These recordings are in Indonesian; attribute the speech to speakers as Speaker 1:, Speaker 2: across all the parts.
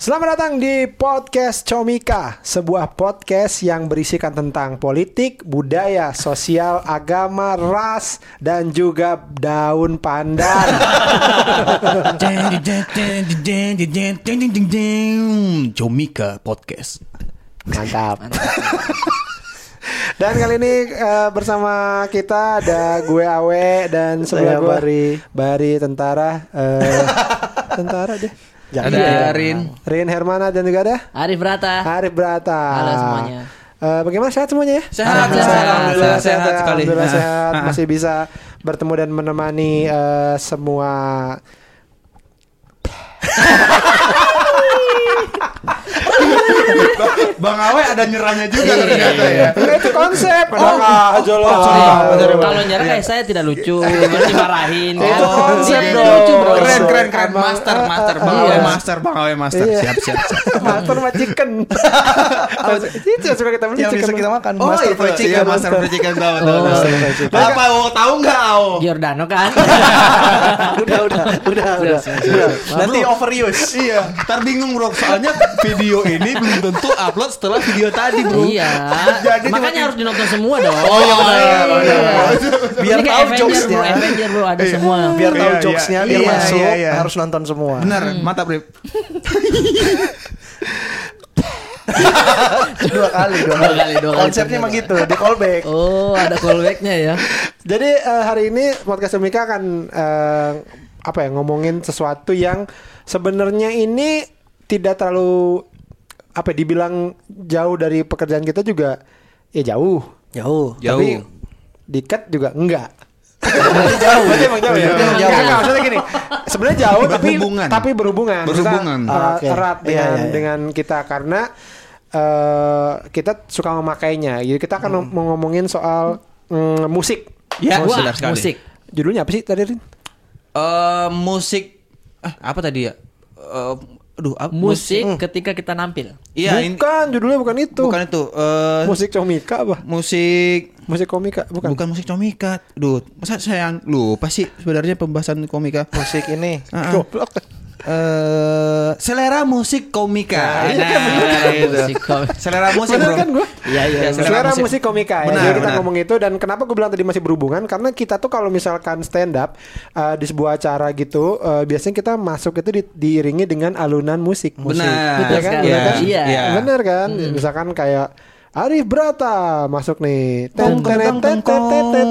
Speaker 1: Selamat datang di podcast Comika, sebuah podcast yang berisikan tentang politik, budaya, sosial, agama, ras, dan juga daun pandan.
Speaker 2: Comika Podcast
Speaker 1: Mantap. Dan kali ini eh, bersama kita ada gue Awe dan
Speaker 3: Saya
Speaker 1: sebelah gue
Speaker 3: Bari.
Speaker 1: Bari tentara, eh, tentara deh. Iya.
Speaker 2: Ada Rin.
Speaker 1: Rin Hermana dan juga ada
Speaker 4: Arif Rata.
Speaker 1: Arif Brata.
Speaker 4: Ah. Halo semuanya.
Speaker 1: Eh, bagaimana sehat semuanya ya?
Speaker 2: Sehat,
Speaker 4: sehat, sehat.
Speaker 2: Alhamdulillah sehat sekali.
Speaker 3: Ah.
Speaker 1: Alhamdulillah
Speaker 2: Nah.
Speaker 1: sehat. Masih bisa bertemu dan menemani eh, semua.
Speaker 3: Bang Awe ada nyerahnya juga ternyata ya.
Speaker 1: Enggak Iya, itu konsep. Oh.
Speaker 3: Enak aja lo.
Speaker 4: Sorry,
Speaker 3: Ah,
Speaker 4: Bang.
Speaker 3: sorry, Bang.
Speaker 4: kalau nyerah kayak saya tidak lucu, dimarahin.
Speaker 3: Oh,
Speaker 2: Oh,
Speaker 1: Itu
Speaker 4: kan.
Speaker 1: konsep
Speaker 4: Dia
Speaker 1: dong.
Speaker 4: Lucu bro.
Speaker 3: Keren keren keren
Speaker 1: Abang-
Speaker 3: master
Speaker 1: ah, ah,
Speaker 3: master
Speaker 1: ah,
Speaker 3: gitu. Bang
Speaker 1: iya.
Speaker 3: Awe master Bang Awe master.
Speaker 1: Iya.
Speaker 3: Siap siap siap.
Speaker 1: Master fried chicken. itu suka kita beli
Speaker 3: Yang bisa
Speaker 1: chicken.
Speaker 3: kita makan
Speaker 1: Oh,
Speaker 3: master
Speaker 1: itu.
Speaker 3: fried
Speaker 1: Iya,
Speaker 3: chicken master fried chicken tahu tahu.
Speaker 4: Oh.
Speaker 3: tahu. Apa Awe tahu enggak Awe?
Speaker 4: Giordano kan.
Speaker 1: udah, udah, udah,
Speaker 3: Iya,
Speaker 1: udah.
Speaker 3: Nanti overuse. Iya. Ntar bingung bro soalnya video ini belum tentu upload setelah video tadi bro.
Speaker 4: iya.
Speaker 3: Jadi
Speaker 4: Makanya
Speaker 3: cuma-
Speaker 4: harus dinonton semua dong.
Speaker 3: Oh iya benar. benar, benar.
Speaker 4: Biar
Speaker 1: Biar tahu
Speaker 4: Avenger,
Speaker 1: jokesnya.
Speaker 4: Bro, Avenger bro ada semua.
Speaker 1: Biar tahu
Speaker 3: Iya, iya.
Speaker 1: jokesnya, biar
Speaker 3: Iya,
Speaker 1: masuk,
Speaker 3: iya, iya.
Speaker 1: harus nonton semua.
Speaker 3: Benar, mantap Rip.
Speaker 5: dua kali dua
Speaker 4: Dua
Speaker 5: kali.
Speaker 4: kali, dua kali.
Speaker 5: konsepnya emang gitu di callback
Speaker 4: Oh, ada callbacknya ya.
Speaker 1: Jadi eh, hari ini podcast Semika akan eh, apa ya ngomongin sesuatu yang sebenarnya ini tidak terlalu apa ya, dibilang jauh dari pekerjaan kita juga ya jauh.
Speaker 5: jauh
Speaker 1: Tapi diket juga enggak.
Speaker 5: jauh
Speaker 1: Berarti emang jauh ya.
Speaker 5: Berarti emang jauh.
Speaker 1: Enggak, enggak, maksudnya gini. Sebenarnya jauh tapi
Speaker 3: Berhubungan.
Speaker 1: tapi berhubungan.
Speaker 3: Berhubungan.
Speaker 1: Kita, eh,
Speaker 5: Ah, oke.
Speaker 1: erat
Speaker 5: Iya,
Speaker 1: dengan
Speaker 5: iya, iya.
Speaker 1: dengan kita karena eh, kita suka memakainya. Jadi kita akan
Speaker 5: Hmm.
Speaker 1: mau ngomongin soal mm, musik.
Speaker 2: Ya,
Speaker 4: Wah,
Speaker 2: sedap sekali.
Speaker 4: musik.
Speaker 1: Judulnya apa sih tadi Rin?
Speaker 2: Eh, Musik eh, Apa tadi ya Eh, Aduh apa-
Speaker 4: Musik ketika kita nampil.
Speaker 2: Iya ini-
Speaker 1: bukan judulnya bukan itu.
Speaker 2: Bukan itu Eh,
Speaker 1: Musik comika apa?
Speaker 2: Musik
Speaker 1: Musik komika
Speaker 2: Bukan.
Speaker 1: bukan.
Speaker 2: musik komika Duh Masa saya yang lupa sih Sebenarnya pembahasan komika
Speaker 5: musik ini
Speaker 2: Ah, ah.
Speaker 1: Goblok.
Speaker 2: Eh, selera musik komika.
Speaker 5: Nah,
Speaker 2: Nah, gitu.
Speaker 4: iya kan, bener kan? Musik komika.
Speaker 2: Selera musik
Speaker 1: Bener
Speaker 2: bro.
Speaker 1: kan gua?
Speaker 2: Iya iya.
Speaker 1: Selera musik komika ya.
Speaker 2: Benar,
Speaker 1: Jadi kita
Speaker 2: benar.
Speaker 1: ngomong itu dan kenapa gue bilang tadi masih berhubungan karena kita tuh kalau misalkan stand up eh, di sebuah acara gitu eh, biasanya kita masuk itu di- diiringi dengan alunan musik. Musik.
Speaker 2: Benar.
Speaker 1: Iya kan?
Speaker 4: sekali.
Speaker 1: Bener kan?
Speaker 4: Iya.
Speaker 2: Iya. Hmm.
Speaker 1: Bener kan? Misalkan kayak Arif Brata masuk nih. Ten
Speaker 2: Tong, tong, tong, tong.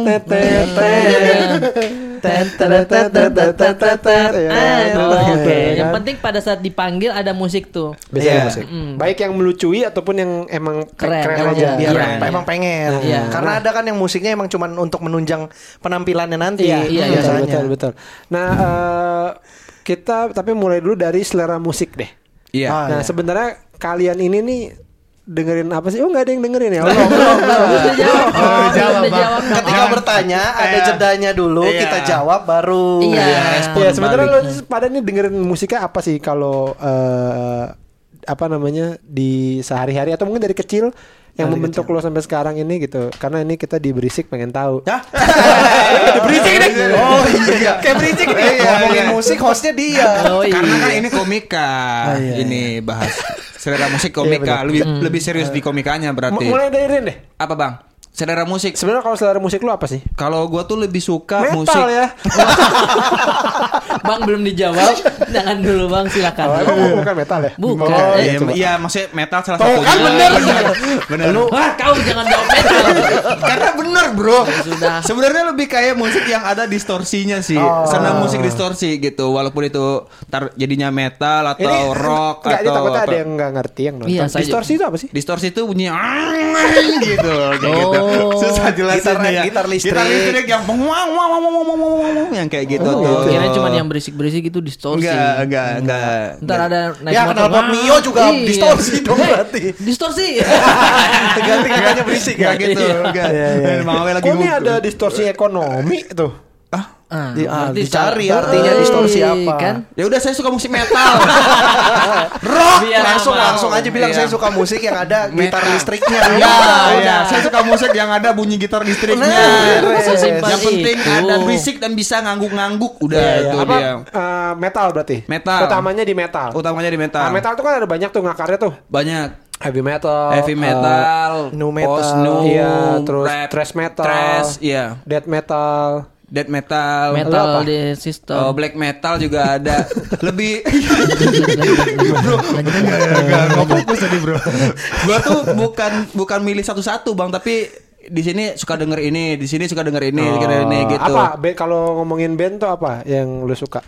Speaker 4: Aduh,
Speaker 1: Oke,
Speaker 4: Oke. Yang
Speaker 1: kan?
Speaker 4: penting pada saat dipanggil ada musik tuh.
Speaker 1: Biasanya
Speaker 2: Iya.
Speaker 1: musik. Baik yang melucui ataupun yang emang keren,
Speaker 4: Keren,
Speaker 1: keren
Speaker 4: emang
Speaker 1: aja.
Speaker 4: biar-
Speaker 1: Iya.
Speaker 5: Emang- emang pengen
Speaker 4: Iya.
Speaker 5: karena ada kan yang musiknya emang cuman untuk menunjang penampilannya nanti
Speaker 4: Iya, iya,
Speaker 1: Betul,
Speaker 5: biasanya
Speaker 1: betul, betul. Nah, eh, kita tapi mulai dulu dari selera musik deh.
Speaker 2: Iya.
Speaker 5: Ah,
Speaker 1: nah,
Speaker 5: iya.
Speaker 1: sebenarnya kalian ini nih dengerin apa sih? Oh, nggak ada yang dengerin ya. Allah.
Speaker 4: Udah jawab.
Speaker 2: Oh,
Speaker 4: Bang.
Speaker 2: jawab,
Speaker 4: Udah
Speaker 2: Bang.
Speaker 4: jawab. Bang.
Speaker 5: ketika bertanya ada
Speaker 2: Nah, Iya.
Speaker 5: jedanya dulu
Speaker 2: Iya.
Speaker 5: kita jawab baru
Speaker 4: Iya.
Speaker 2: Iya, respon
Speaker 1: ya, sebenarnya lo
Speaker 2: balik.
Speaker 1: pada nih dengerin musiknya apa sih kalau eh, apa namanya di sehari-hari atau mungkin dari kecil yang membentuk lo sampai sekarang ini gitu. Karena ini kita di berisik pengen tahu.
Speaker 2: Ya,
Speaker 5: Hah?
Speaker 3: Berisik nih. Oh iya.
Speaker 5: Kayak berisik nih.
Speaker 3: Iya, iya.
Speaker 5: Ngomongin musik hostnya dia.
Speaker 4: Oh, iya.
Speaker 2: Karena kan ini komika. ini bahas selera musik komika. lebih lebih serius di komikanya
Speaker 1: Mu-
Speaker 2: berarti.
Speaker 1: Mulai dari Rin deh.
Speaker 2: Apa bang? Selera musik.
Speaker 1: Sebenarnya kalau selera musik lo apa sih?
Speaker 2: Kalau gua tuh lebih suka
Speaker 1: Metal
Speaker 2: musik.
Speaker 1: ya.
Speaker 4: Bang belum dijawab. Jangan dulu Bang, silakan.
Speaker 1: Oh, emang bukan metal ya?
Speaker 4: Bukan.
Speaker 1: Oh,
Speaker 2: Iya,
Speaker 1: coba.
Speaker 2: iya, maksudnya metal salah
Speaker 1: Tuh
Speaker 2: satunya.
Speaker 1: kan bener.
Speaker 2: Bener.
Speaker 4: Wah, kau jangan jawab metal.
Speaker 2: Karena bener bro
Speaker 4: sudah.
Speaker 2: Sebenarnya lebih kayak musik yang ada distorsinya sih
Speaker 1: Oh.
Speaker 2: Senang musik distorsi gitu Walaupun itu tar jadinya metal atau rock
Speaker 1: Enggak,
Speaker 2: atau
Speaker 1: takutnya
Speaker 2: apa.
Speaker 1: ada ya, yang nggak ngerti yang nonton.
Speaker 4: Iya, saya-
Speaker 1: Distorsi itu apa sih?
Speaker 2: Distorsi itu bunyi gitu, kayak gitu.
Speaker 4: Oh.
Speaker 2: Susah jelasin
Speaker 5: Gitar-
Speaker 2: ya.
Speaker 5: gitar listrik.
Speaker 2: Gitar listrik yang penguang wang wang wang wang wang wang, wang, yang kayak gitu
Speaker 4: Oh,
Speaker 2: tuh.
Speaker 4: Kira cuma iya. yang berisik-berisik itu distorsi.
Speaker 2: enggak enggak enggak.
Speaker 4: Ntar ada naik
Speaker 5: Ya,
Speaker 4: motor.
Speaker 5: knalpot
Speaker 4: "Wah,
Speaker 5: Mio juga
Speaker 4: iya."
Speaker 5: distorsi dong
Speaker 4: Hei,
Speaker 5: berarti.
Speaker 4: Distorsi.
Speaker 5: Ganti katanya berisik
Speaker 2: Iya,
Speaker 4: Iya.
Speaker 5: ya.
Speaker 2: Enggak
Speaker 4: Oh,
Speaker 2: gitu, enggak. Dan Mang Awe lagi
Speaker 1: Kok Oh, ini
Speaker 2: gugup.
Speaker 1: ada distorsi ekonomi tuh?
Speaker 2: Ah,
Speaker 4: Ah,
Speaker 5: Di- ah,
Speaker 4: nanti
Speaker 5: dicari
Speaker 4: secara-
Speaker 5: artinya
Speaker 4: Hei,
Speaker 5: distorsi apa.
Speaker 4: kan?
Speaker 2: Ya udah saya suka musik metal.
Speaker 5: Rock
Speaker 4: Biar
Speaker 5: langsung
Speaker 4: aman.
Speaker 5: langsung aja bilang
Speaker 2: Iya.
Speaker 5: saya suka musik yang ada gitar
Speaker 2: Metal.
Speaker 5: listriknya.
Speaker 2: Iya, iya. Saya suka musik yang ada bunyi gitar listriknya. Iya.
Speaker 5: Nah,
Speaker 4: beres.
Speaker 2: yang penting
Speaker 4: Itu.
Speaker 2: ada berisik dan bisa ngangguk-ngangguk. Udah
Speaker 1: Iya, iya.
Speaker 2: itu
Speaker 1: Apa,
Speaker 2: dia.
Speaker 1: eh, metal berarti.
Speaker 2: Metal.
Speaker 1: Utamanya di metal.
Speaker 2: Utamanya di metal.
Speaker 4: Ah,
Speaker 1: Nah, metal tuh kan ada banyak tuh ngakarnya tuh.
Speaker 2: Banyak
Speaker 1: Heavy
Speaker 4: Oh,
Speaker 1: metal, eh,
Speaker 2: heavy metal,
Speaker 5: nu metal.
Speaker 2: post nu,
Speaker 1: iya, terus
Speaker 2: rap,
Speaker 1: thrash metal,
Speaker 2: thrash, iya,
Speaker 1: death metal.
Speaker 2: death metal,
Speaker 4: metal
Speaker 1: Lu apa?
Speaker 4: di sistem.
Speaker 2: Oh, black metal juga ada. Lebih gua tuh bukan bukan milih satu-satu, Bang, tapi di sini suka denger ini, di sini suka denger ini, suka denger ini
Speaker 1: Oh,
Speaker 2: gitu.
Speaker 1: Apa band kalau ngomongin band tuh apa yang lu suka?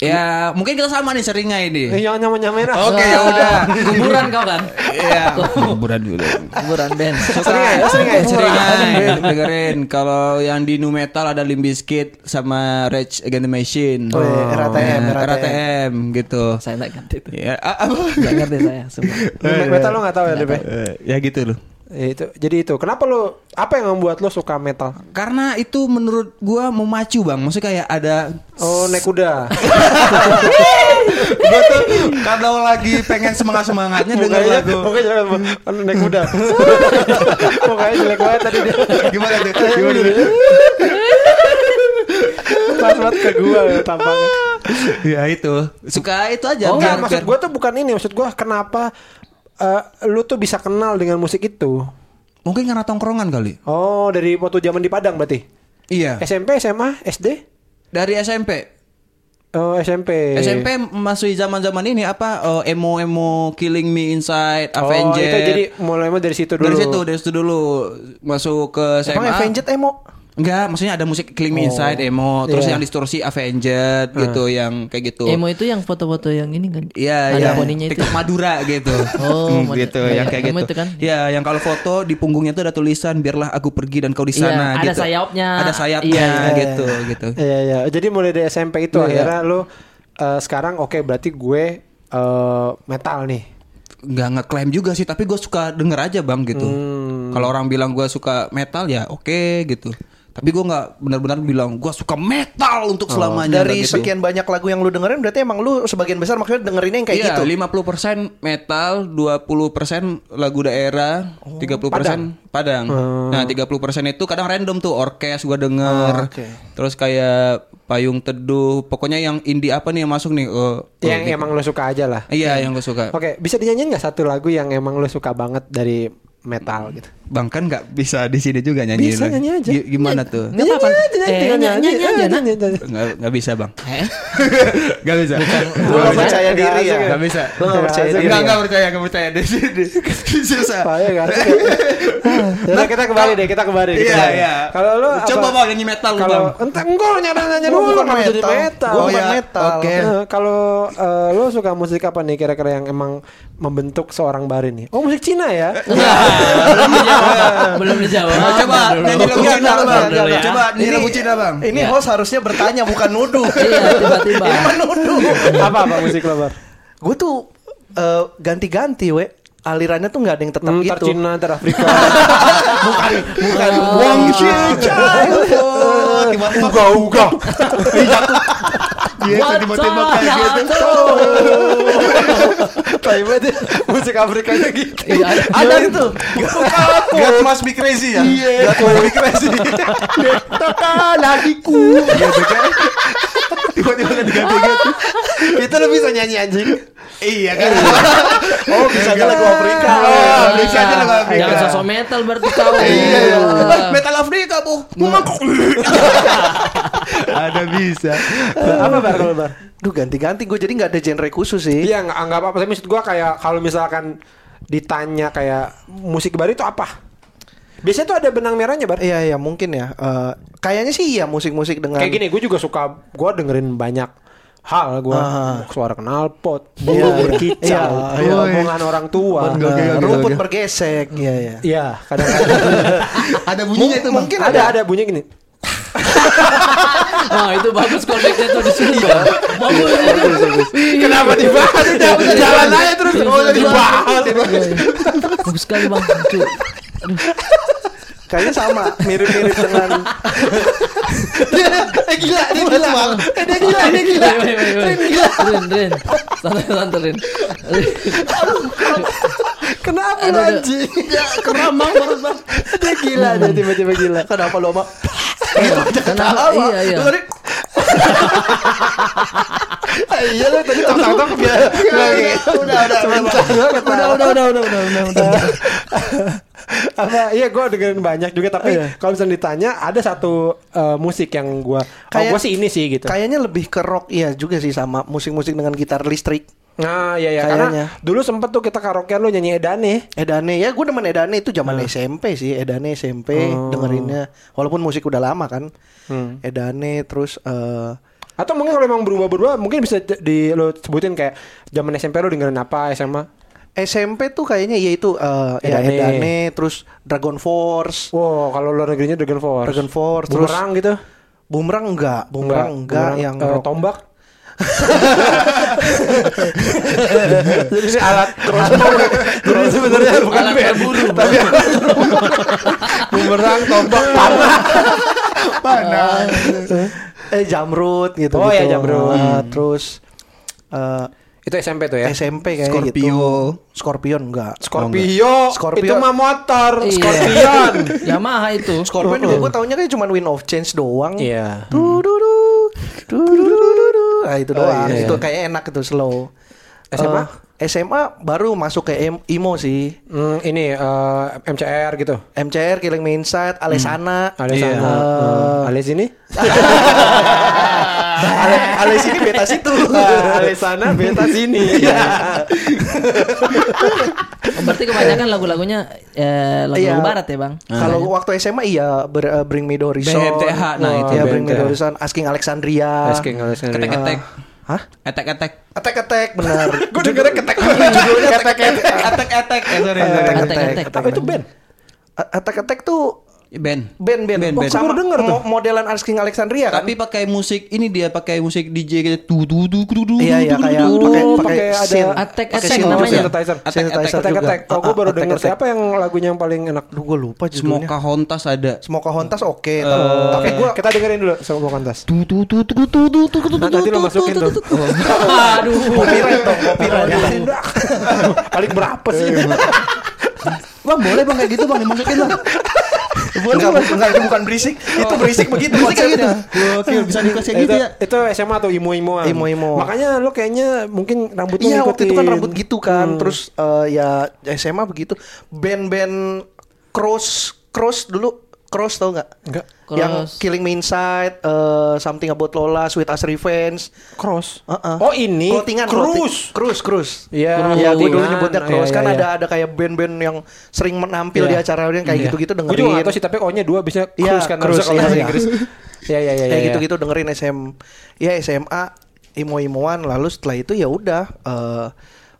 Speaker 2: Ya, mungkin kita sama nih seringnya
Speaker 1: Eh,
Speaker 2: ini.
Speaker 1: Yang nyaman-nyamain ah.
Speaker 2: Oke, ya
Speaker 4: Iya.
Speaker 2: udah.
Speaker 4: Kuburan kau kan?
Speaker 2: Iya, kuburan dulu.
Speaker 4: Kuburan band.
Speaker 1: Seringai, ya, seringai.
Speaker 2: Seringai dengerin kalau yang di nu metal ada Limp Bizkit sama Rage Against the Machine.
Speaker 5: Oh, iya, RATM,
Speaker 2: Nah, RATM gitu.
Speaker 4: Saya nggak ngerti itu.
Speaker 2: Ya, a- apa?
Speaker 4: Nggak ngerti saya. sumpah.
Speaker 1: Lu black metal lu gak tahu ya, Dep? ya?
Speaker 2: Eh, ya gitu loh.
Speaker 1: Eh, Itu. Jadi itu. Kenapa lu apa yang membuat lu suka metal?
Speaker 2: Karena itu menurut gua memacu, Bang. Maksudnya kayak ada
Speaker 1: Oh, naik kuda.
Speaker 2: gua tuh kalau lagi pengen semangat-semangatnya denger
Speaker 1: Mukanya
Speaker 2: lagu.
Speaker 1: Mukanya jangan Aduh, naik kuda. mukanya jelek banget tadi dia.
Speaker 2: Gimana tuh? Gimana tuh?
Speaker 1: Pas banget ke gua ya, tampaknya.
Speaker 2: ya itu. Suka itu aja.
Speaker 1: Oh, enggak,
Speaker 2: Ya, biar-
Speaker 1: maksud
Speaker 2: biar-
Speaker 1: gua tuh bukan ini. Maksud gua kenapa eh, lu tuh bisa kenal dengan musik itu?
Speaker 2: Mungkin karena tongkrongan kali.
Speaker 1: Oh, dari waktu zaman di Padang berarti.
Speaker 2: Iya.
Speaker 1: SMP, SMA, SD?
Speaker 2: Dari
Speaker 1: Eh.
Speaker 2: SMP.
Speaker 1: Oh, SMP.
Speaker 2: SMP masih zaman-zaman ini apa eh, emo-emo Killing Me Inside,
Speaker 1: Oh,
Speaker 2: Avenged.
Speaker 1: itu jadi mulai dari situ dulu.
Speaker 2: dari situ, dari situ dulu masuk ke SMA.
Speaker 5: Emang Avenged
Speaker 2: Iya,
Speaker 5: emo?
Speaker 2: Enggak, maksudnya ada musik Killing
Speaker 5: Oh.
Speaker 2: Me Inside, emo, terus
Speaker 1: Iya.
Speaker 2: yang distorsi Avenged gitu, yang kayak gitu.
Speaker 4: Emo itu yang foto-foto yang ini kan?
Speaker 2: Iya,
Speaker 4: Ada
Speaker 2: yang
Speaker 4: poninya itu.
Speaker 2: TikTok Madura gitu.
Speaker 4: Oh,
Speaker 2: Hmm,
Speaker 4: Madura.
Speaker 2: gitu,
Speaker 4: Iya,
Speaker 2: yang kayak
Speaker 4: emo
Speaker 2: gitu.
Speaker 4: itu kan?
Speaker 2: Iya, yang kalau foto di punggungnya tuh ada tulisan biarlah aku pergi dan kau di sana
Speaker 4: Iya, ada
Speaker 2: gitu.
Speaker 4: sayapnya.
Speaker 2: Ada sayapnya
Speaker 4: Iya, iya.
Speaker 2: gitu, gitu.
Speaker 1: Iya iya. Jadi mulai dari SMP itu
Speaker 2: Iya.
Speaker 1: akhirnya lu eh, sekarang oke berarti gue eh, metal nih.
Speaker 2: nggak ngeklaim juga sih tapi gue suka denger aja bang gitu
Speaker 5: Hmm.
Speaker 2: kalau orang bilang gue suka metal ya oke gitu tapi gue nggak benar-benar bilang gue suka metal untuk selamanya
Speaker 5: Oh. Dari
Speaker 2: nggak gitu.
Speaker 5: sekian banyak lagu yang lu dengerin berarti emang lu sebagian besar maksudnya dengerinnya yang kayak
Speaker 2: Iya,
Speaker 5: gitu.
Speaker 2: 50% metal, 20% lagu daerah,
Speaker 5: Oh,
Speaker 2: 30% Padang.
Speaker 5: Hmm.
Speaker 2: Nah, 30% itu kadang random tuh orkes gua denger.
Speaker 5: Ah,
Speaker 2: Terus kayak payung teduh, pokoknya yang indie apa nih yang masuk nih? Eh, eh,
Speaker 1: yang emang lu suka aja lah.
Speaker 2: Iya, yang gue suka.
Speaker 1: Oke, bisa dinyanyiin nggak satu lagu yang emang lu suka banget dari metal gitu?
Speaker 2: Bang kan nggak bisa di sini juga nyanyi.
Speaker 1: Bisa, nyanyi aja.
Speaker 2: Gimana
Speaker 5: Iya.
Speaker 2: tuh?
Speaker 4: Nggak apa-apa. Eh,
Speaker 1: tinggal
Speaker 4: nyanyi
Speaker 1: nyanyi,
Speaker 4: aja,
Speaker 1: eh,
Speaker 4: Nak.
Speaker 1: nyanyi aja.
Speaker 2: Nggak nggak bisa bang.
Speaker 4: Eh?
Speaker 2: Nggak bisa.
Speaker 5: Lu gak percaya diri ya?
Speaker 2: Nggak bisa.
Speaker 5: Lu gak percaya
Speaker 1: Nggak,
Speaker 5: diri
Speaker 2: Enggak,
Speaker 5: ya?
Speaker 2: enggak percaya, enggak percaya di sini. Susah.
Speaker 1: Bahaya nggak sih? Ya udah, kita kembali deh, kita kembali. kita
Speaker 2: Nah, Iya,
Speaker 1: kembali.
Speaker 2: iya.
Speaker 1: Kalau lu
Speaker 2: coba
Speaker 1: apa-
Speaker 2: bang nyanyi metal lu,
Speaker 1: Kalau
Speaker 2: bang.
Speaker 1: entah enggak nyanyi nyanyi
Speaker 5: Gua
Speaker 1: dulu
Speaker 5: bukan
Speaker 1: kenapa jadi
Speaker 5: metal.
Speaker 1: metal.
Speaker 5: Gua
Speaker 1: Oh,
Speaker 5: bukan
Speaker 1: iya.
Speaker 5: metal.
Speaker 2: Oke.
Speaker 1: Eh, kalau eh, lu suka musik apa nih kira-kira yang emang membentuk seorang Barin nih? Oh, musik Cina ya?
Speaker 2: Eh, iya.
Speaker 4: belum dijawab. Belum dijawab.
Speaker 2: Nah, coba
Speaker 4: Belum.
Speaker 2: nyanyi lagu
Speaker 5: Iya,
Speaker 2: Cina,
Speaker 5: iya,
Speaker 2: bang.
Speaker 5: iya, iya.
Speaker 2: Coba nyanyi
Speaker 5: Ini-
Speaker 2: lagu Cina, bang.
Speaker 5: Ini host harusnya bertanya bukan nuduh.
Speaker 4: Iya, tiba-tiba.
Speaker 5: Ini menuduh.
Speaker 1: apa apa musik lo, Bar?
Speaker 5: Gue tuh eh, ganti-ganti we alirannya tuh nggak ada yang tetap
Speaker 1: Entar
Speaker 5: gitu.
Speaker 1: Cina, entar Afrika.
Speaker 5: Bukan, bukan.
Speaker 2: Wong Chai. Gitu. Tiba-tiba
Speaker 1: uga uga.
Speaker 2: dia
Speaker 4: What's
Speaker 2: tiba-tiba
Speaker 4: up,
Speaker 2: kayak gitu.
Speaker 1: Tapi berarti musik Afrikanya gitu.
Speaker 4: Iya, ada.
Speaker 5: Ada itu.
Speaker 3: God must be crazy ya. Iya. God must be crazy.
Speaker 2: Gitu kan. Tiba-tiba ganti-ganti gitu.
Speaker 5: Itu lo bisa nyanyi anjing.
Speaker 2: Iya kan.
Speaker 5: Oh, bisa aja lagu Afrika.
Speaker 2: Oh, bisa aja lagu Afrika.
Speaker 4: Jangan Iya, sosok metal berarti kau. Iya.
Speaker 2: Eh, Metal Afrika, Bu. Ada bisa.
Speaker 1: apa Bar kalau Bar?
Speaker 5: Duh ganti-ganti gue jadi nggak ada genre khusus sih.
Speaker 1: Iya, nggak nggak apa-apa. Tapi maksud gua kayak kalau misalkan ditanya kayak musik Barin itu apa? Biasanya tuh ada benang merahnya, Bar.
Speaker 5: Iya iya mungkin ya. Eh, kayaknya sih iya musik-musik dengan
Speaker 1: Kayak gini, gue juga suka, gue dengerin banyak hal, gue
Speaker 5: Ah.
Speaker 1: suara knalpot,
Speaker 5: Iya,
Speaker 1: bumbu
Speaker 5: iya.
Speaker 1: berkicau,
Speaker 5: Iya, iya.
Speaker 1: omongan orang tua,
Speaker 5: Eh,
Speaker 2: Oke, oke,
Speaker 5: rumput
Speaker 2: oke.
Speaker 5: bergesek. Iya iya.
Speaker 1: iya kadang-kadang
Speaker 2: Ada bunyinya itu, Bang.
Speaker 5: mungkin
Speaker 1: ada ada bunyi gini,
Speaker 4: Nah, itu bagus konteksnya tuh di sini, Bang. Bagus
Speaker 1: kenapa dibahas? Udah, udah jalan aja terus, oh
Speaker 4: Iya,
Speaker 1: jadi dibahas.
Speaker 4: Bagus sekali, Bang. Lucu.
Speaker 5: Kayaknya sama mirip-mirip dengan
Speaker 1: Eh gila, dia gila. Eh, Dia gila, dia gila.
Speaker 4: Wait, wait, wait, wait. Rin, Rin. Santai, santai, Rin. Rin.
Speaker 1: Kenapa
Speaker 4: Aduh,
Speaker 1: lu
Speaker 4: aduh.
Speaker 1: anjing?
Speaker 5: Ya,
Speaker 1: Keramang baru bang. Dia gila, dia tiba-tiba gila.
Speaker 5: Kenapa lo mak?
Speaker 1: Eh,
Speaker 4: Kenapa? Iya, iya.
Speaker 5: Lu tadi
Speaker 1: Ah, Iya lu tadi tong-tong kebiasaan. iya.
Speaker 5: udah udah
Speaker 1: Sebentar, gua ketawa. Iya,
Speaker 4: Udah, udah, udah, udah, udah, udah, udah.
Speaker 1: apa iya gue dengerin banyak juga tapi
Speaker 5: Iya.
Speaker 1: kalau misalnya ditanya ada satu eh, musik yang gue oh
Speaker 5: Kayak-
Speaker 1: gue sih ini sih gitu
Speaker 5: Kayaknya lebih ke rock iya juga sih sama musik-musik dengan gitar listrik.
Speaker 1: nah iya iya
Speaker 5: Kayaknya.
Speaker 1: karena dulu sempet tuh kita karaokean lu nyanyi Edane
Speaker 5: Edane ya gue demen Edane itu zaman
Speaker 1: Nah.
Speaker 5: SMP sih Edane SMP
Speaker 1: Oh.
Speaker 5: dengerinnya walaupun musik udah lama kan
Speaker 1: Hmm.
Speaker 5: Edane terus eh,
Speaker 1: atau mungkin kalau emang berubah-berubah mungkin bisa j- di lo sebutin kayak zaman SMP lu dengerin apa SMA
Speaker 5: SMP tuh kayaknya ya itu eh, ya
Speaker 1: Edane.
Speaker 5: Edane terus Dragon Force
Speaker 1: wow kalau luar negerinya Dragon Force
Speaker 5: Dragon Force, terus-
Speaker 1: Bumerang gitu
Speaker 5: Bumerang enggak Bumerang enggak,
Speaker 1: Bumerang,
Speaker 5: yang
Speaker 1: eh,
Speaker 5: rock.
Speaker 1: tombak jadi ini alat crossbow jadi sebenarnya bukan
Speaker 4: Alat
Speaker 1: band
Speaker 4: berburu.
Speaker 1: tapi bumerang tombak panah
Speaker 2: Oh,
Speaker 5: eh Jamrut gitu
Speaker 1: Oh, ya,
Speaker 5: gitu.
Speaker 1: Jamrut.
Speaker 5: Eh, terus eh,
Speaker 1: itu SMP tuh ya
Speaker 5: SMP kayak
Speaker 3: Scorpio.
Speaker 5: gitu Scorpion enggak
Speaker 1: Oh, Scorpio,
Speaker 5: Scorpio.
Speaker 1: itu mah motor
Speaker 4: Iya.
Speaker 1: Scorpion
Speaker 4: Yamaha itu.
Speaker 5: Scorpion juga gue taunya kayak cuma Win of Change doang
Speaker 1: iya
Speaker 5: Du du du du du du du du. Nah, itu doang.
Speaker 1: iya, iya.
Speaker 5: Itu kayak enak itu slow.
Speaker 1: SMA?
Speaker 5: Eh, SMA baru masuk ke em- IMO sih.
Speaker 1: Hmm, ini eh, MCR gitu
Speaker 5: MCR Killing Me Inside, Alesana.
Speaker 1: Alias
Speaker 3: Iya.
Speaker 1: sana,
Speaker 5: Oh.
Speaker 1: eh, alias ini
Speaker 5: Ale- Ales ini beta situ. Iya.
Speaker 1: Eh, alias sana beta sini
Speaker 4: Berarti kebanyakan lagu-lagunya eh,
Speaker 5: Iya.
Speaker 4: lagu-lagu barat ya, Bang?
Speaker 2: Nah,
Speaker 1: Ah.
Speaker 5: Kalau waktu SMA iya ber- eh, Bring Me The Horizon.
Speaker 2: BMTH, nah itu
Speaker 5: Ya Bring Me The
Speaker 1: BMTH.
Speaker 5: Horizon, Asking Alexandria.
Speaker 1: Asking Alexandria.
Speaker 2: gitu. Ketek-ketek.
Speaker 5: Hah?
Speaker 2: Etek-etek.
Speaker 5: Attack Attack benar.
Speaker 1: gue dengernya ketek ketek
Speaker 2: Etek-etek. Eh, sorry, sorry.
Speaker 4: Tek, tek,
Speaker 5: Tek,
Speaker 4: tek.
Speaker 1: apa itu band
Speaker 5: Attack Attack tuh
Speaker 2: Band.
Speaker 5: band-band
Speaker 2: Band,
Speaker 5: Oh,
Speaker 2: band.
Speaker 5: sama mo- modelan Asking Alexandria kan.
Speaker 2: Tapi pakai musik ini dia pakai musik DJ gitu. Du du du du du.
Speaker 5: Iya iya kayak pakai pakai
Speaker 1: pakai ada-
Speaker 5: synth.
Speaker 4: Attack
Speaker 5: Pakai
Speaker 4: Attack
Speaker 5: synth.
Speaker 4: namanya.
Speaker 1: synthesizer
Speaker 5: Attack Attack
Speaker 1: ketek
Speaker 5: juga.
Speaker 1: ketek oh gue baru
Speaker 5: Attack
Speaker 1: denger
Speaker 5: Attack.
Speaker 1: siapa yang lagunya yang paling enak
Speaker 5: Aduh gue lupa judulnya.
Speaker 2: Smoka Hontas ada.
Speaker 5: Semoga Hontas oke.
Speaker 2: Eh.
Speaker 5: tapi- tapi gue
Speaker 1: kita dengerin dulu sama Bang Kontas
Speaker 2: Du du du du du du du du.
Speaker 1: nanti lo masukin tuh
Speaker 4: Oh, Aduh.
Speaker 5: copyright dong, copyright.
Speaker 1: paling berapa sih
Speaker 5: Iya,
Speaker 2: Bang boleh bang kayak gitu bang dimasukin bang.
Speaker 5: Enggak, bu- enggak, itu bukan berisik. Itu berisik begitu
Speaker 2: Musik kayak gitu.
Speaker 5: konsepnya.
Speaker 2: Oke bisa dikasih
Speaker 1: itu,
Speaker 2: gitu ya.
Speaker 1: itu SMA atau imo-imoan
Speaker 5: Imo-imo.
Speaker 1: makanya lo kayaknya mungkin rambut lo
Speaker 5: Iya waktu itu kan
Speaker 1: ngikutin. Hmm.
Speaker 5: rambut gitu kan. Terus eh, ya SMA begitu. Band-band cross cross dulu cross tau nggak?
Speaker 1: Nggak.
Speaker 4: Cross.
Speaker 5: Yang Killing Me Inside, eh, Something About Lola, Sweet As Revenge.
Speaker 1: cross
Speaker 5: Heeh.
Speaker 1: oh ini
Speaker 5: Clothingan,
Speaker 1: cruise
Speaker 5: clothing- Cruise, cruise.
Speaker 1: Iya,
Speaker 5: ya, gue dulu
Speaker 1: clothingan.
Speaker 5: nyebutnya
Speaker 1: Iya,
Speaker 5: cruise
Speaker 1: iya,
Speaker 5: kan
Speaker 1: iya.
Speaker 5: ada ada kayak band-band yang sering menampil di
Speaker 1: Iya.
Speaker 5: acara yang kayak gitu-gitu
Speaker 1: gue juga
Speaker 5: dengerin.
Speaker 1: nggak tahu sih tapi O-nya dua bisa
Speaker 5: Iya,
Speaker 1: cruise kan
Speaker 5: cruise,
Speaker 1: harusnya kalau
Speaker 5: iya,
Speaker 1: bahasa
Speaker 5: iya.
Speaker 1: Inggris ya ya ya
Speaker 5: kayak gitu-gitu dengerin SM ya SMA imo-imoan lalu setelah itu ya udah eh,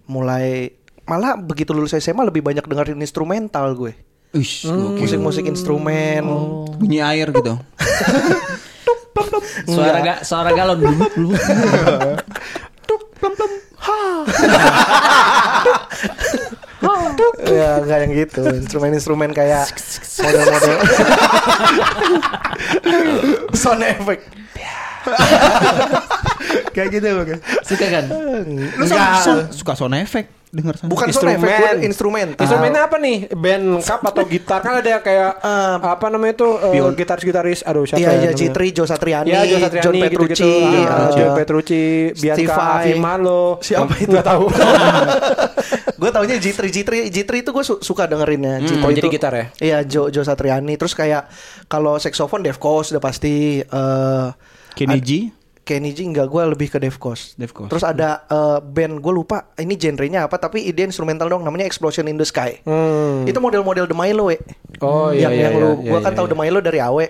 Speaker 5: mulai malah begitu lulus SMA lebih banyak dengerin instrumental gue
Speaker 2: Ush,
Speaker 1: Hmm.
Speaker 2: gokil.
Speaker 5: musik-musik instrumen
Speaker 1: Oh.
Speaker 2: bunyi air gitu.
Speaker 4: Suara ga, suara galon dulu. dulu.
Speaker 5: ya nggak yang gitu instrumen-instrumen kayak model-model sound effect kayak gitu bukan
Speaker 4: Suka kan?
Speaker 2: Lu sama suka sound effect denger sound
Speaker 5: bukan Ah. sound effect
Speaker 1: instrumen
Speaker 5: gue instrumental
Speaker 1: instrumennya apa nih band lengkap atau gitar kan ada kayak
Speaker 5: Eh,
Speaker 1: apa namanya itu eh, gitaris-gitaris aduh siapa ya
Speaker 5: Iya, iya,
Speaker 1: namanya?
Speaker 5: Citri, Joe Satriani,
Speaker 1: Iya, Joe Satriani,
Speaker 5: John
Speaker 1: gitu-gitu.
Speaker 5: Petrucci,
Speaker 1: Ah,
Speaker 5: eh,
Speaker 1: John Petrucci, Bianca
Speaker 5: Steve Vai.
Speaker 1: Afimalo.
Speaker 5: Siapa itu?
Speaker 1: Nggak tahu.
Speaker 5: gue taunya Jitri Jitri Jitri itu gue su- suka dengerinnya Jitri
Speaker 1: oh,
Speaker 5: itu-
Speaker 1: jadi gitar ya?
Speaker 5: iya Jo Jo Satriani terus kayak kalau saxophone Defcos udah pasti eh
Speaker 2: Kenny G.
Speaker 5: Kenny G enggak gue lebih ke Defcos
Speaker 2: Defcos.
Speaker 5: terus ada eh, band gue lupa ini genrenya apa tapi dia instrumental dong namanya Explosion in the Sky
Speaker 1: Hmm.
Speaker 5: itu model-model The Milo we.
Speaker 1: Oh, iya,
Speaker 5: yang,
Speaker 1: iya,
Speaker 5: yang
Speaker 1: iya, iya,
Speaker 5: lu gue
Speaker 1: iya,
Speaker 5: kan tahu
Speaker 1: iya.
Speaker 5: The Milo dari Awe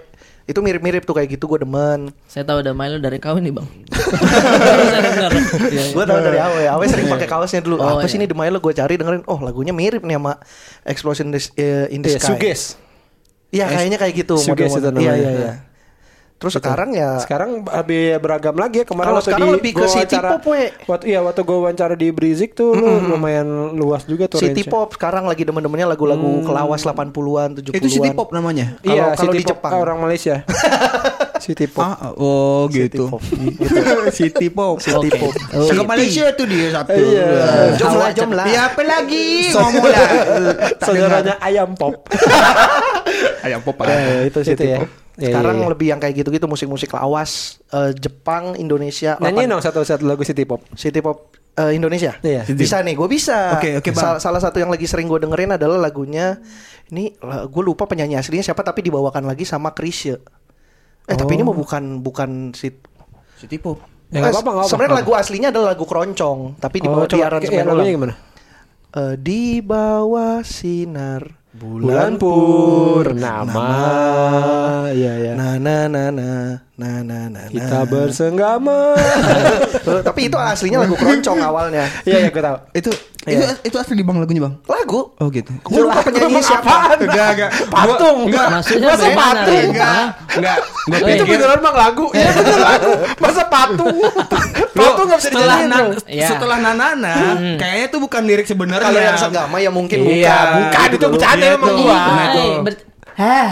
Speaker 5: itu mirip-mirip tuh kayak gitu gue demen
Speaker 4: Saya tahu udah main lu dari kau nih, Bang. Saya dengar. Iya, iya.
Speaker 5: Gue tahu dari Awe, Awe sering pakai kaosnya dulu.
Speaker 4: Oh,
Speaker 5: apa sih
Speaker 4: iya.
Speaker 5: ini The Milo gue cari dengerin. Oh, lagunya mirip nih sama Explosion in the, eh, in the
Speaker 1: Iya,
Speaker 5: Sky.
Speaker 1: Suges.
Speaker 5: Iya, kayaknya kayak gitu
Speaker 1: Suges
Speaker 5: model-model.
Speaker 1: itu namanya.
Speaker 5: Iya, iya, iya. Terus sekarang ya
Speaker 1: Sekarang lebih beragam lagi ya kemarin
Speaker 5: Kalau
Speaker 1: waktu
Speaker 5: sekarang
Speaker 1: di
Speaker 5: lebih ke
Speaker 1: gua
Speaker 5: city
Speaker 1: wawancara-
Speaker 5: pop, we.
Speaker 1: Waktu iya waktu gue wawancara di Brizik tuh lu lumayan luas juga tuh
Speaker 5: City
Speaker 1: range-nya.
Speaker 5: Pop sekarang lagi demen-demennya lagu-lagu kelawas 80-an, 70-an.
Speaker 2: Itu City Pop nah. namanya.
Speaker 5: Kalau-
Speaker 1: Iya,
Speaker 5: kalau
Speaker 1: City
Speaker 5: di
Speaker 1: Pop
Speaker 5: Jepang.
Speaker 1: orang Malaysia. City Pop.
Speaker 2: Ah, oh
Speaker 5: City
Speaker 2: gitu.
Speaker 5: Pop.
Speaker 2: City Pop. Oke.
Speaker 5: City
Speaker 2: Oh, gitu.
Speaker 5: Pop.
Speaker 2: Cakep
Speaker 5: City.
Speaker 2: Malaysia tuh dia satu.
Speaker 1: Iya.
Speaker 5: Jomlah,
Speaker 2: Awak
Speaker 5: jomlah.
Speaker 2: cakep. Ya apa lagi? Ngomong lah. Tak
Speaker 1: Saudaranya Ayam Pop.
Speaker 2: dengar. Ayam pop.
Speaker 5: Ya, ya, itu City
Speaker 1: Itu ya.
Speaker 5: Pop.
Speaker 1: Iya,
Speaker 5: Sekarang
Speaker 1: iya, iya.
Speaker 5: lebih yang kayak gitu-gitu musik-musik lawas eh, Jepang, Indonesia.
Speaker 1: Nyanyi
Speaker 5: lapan-
Speaker 1: dong satu-satu lagu City Pop.
Speaker 5: City Pop eh, Indonesia.
Speaker 1: Iya.
Speaker 2: City
Speaker 5: Bisa nih, gue bisa.
Speaker 2: Oke, oke, Bang.
Speaker 5: Sal- salah satu yang lagi sering gue dengerin adalah lagunya ini gue lupa penyanyi aslinya siapa tapi dibawakan lagi sama Chrisye. Eh tapi ini mau bukan bukan si
Speaker 2: City Pop.
Speaker 1: Oh. Ya, nggak apa-apa, nggak apa-apa.
Speaker 5: Sebenarnya lagu aslinya adalah lagu keroncong, tapi dibawa di
Speaker 1: coba,
Speaker 5: aransemen
Speaker 1: ya, lagunya
Speaker 5: ulang.
Speaker 1: gimana?
Speaker 5: Eh, di bawah sinar
Speaker 1: Bulan purnama. Iya, iya.
Speaker 5: Na na na na na na na.
Speaker 1: Kita
Speaker 5: na.
Speaker 1: bersenggama.
Speaker 5: Eh, tapi itu aslinya lagu keroncong awalnya.
Speaker 1: Iya, iya, gue tahu.
Speaker 2: Itu itu
Speaker 1: Iya.
Speaker 2: itu asli di Bang lagunya, Bang.
Speaker 5: Lagu.
Speaker 2: Oh gitu.
Speaker 5: Gue lupa penyanyi siapa.
Speaker 2: Enggak, enggak.
Speaker 1: Patung.
Speaker 2: Enggak.
Speaker 4: Maksudnya
Speaker 1: Masa
Speaker 4: benar, ya,
Speaker 1: patung?
Speaker 4: Rin.
Speaker 2: Enggak. Enggak. Gua
Speaker 4: Itu
Speaker 1: Itu
Speaker 2: pikir-
Speaker 1: beneran bang lagu? Iya bener lagu. Masa patung? patung nggak bisa
Speaker 2: setelah
Speaker 1: dijadiin. Hmm.
Speaker 2: na-
Speaker 1: Bang.
Speaker 4: Iya.
Speaker 2: setelah nanana kayaknya tuh bukan lirik sebenarnya Nah,
Speaker 5: Kalau yang senggama ya mungkin
Speaker 1: Iya,
Speaker 5: bukan.
Speaker 1: bukan itu bercanda
Speaker 2: Iya,
Speaker 1: emang
Speaker 2: tuh.
Speaker 1: gua.
Speaker 2: Nah,
Speaker 4: Hai,
Speaker 2: tuh.
Speaker 4: ber- Hah.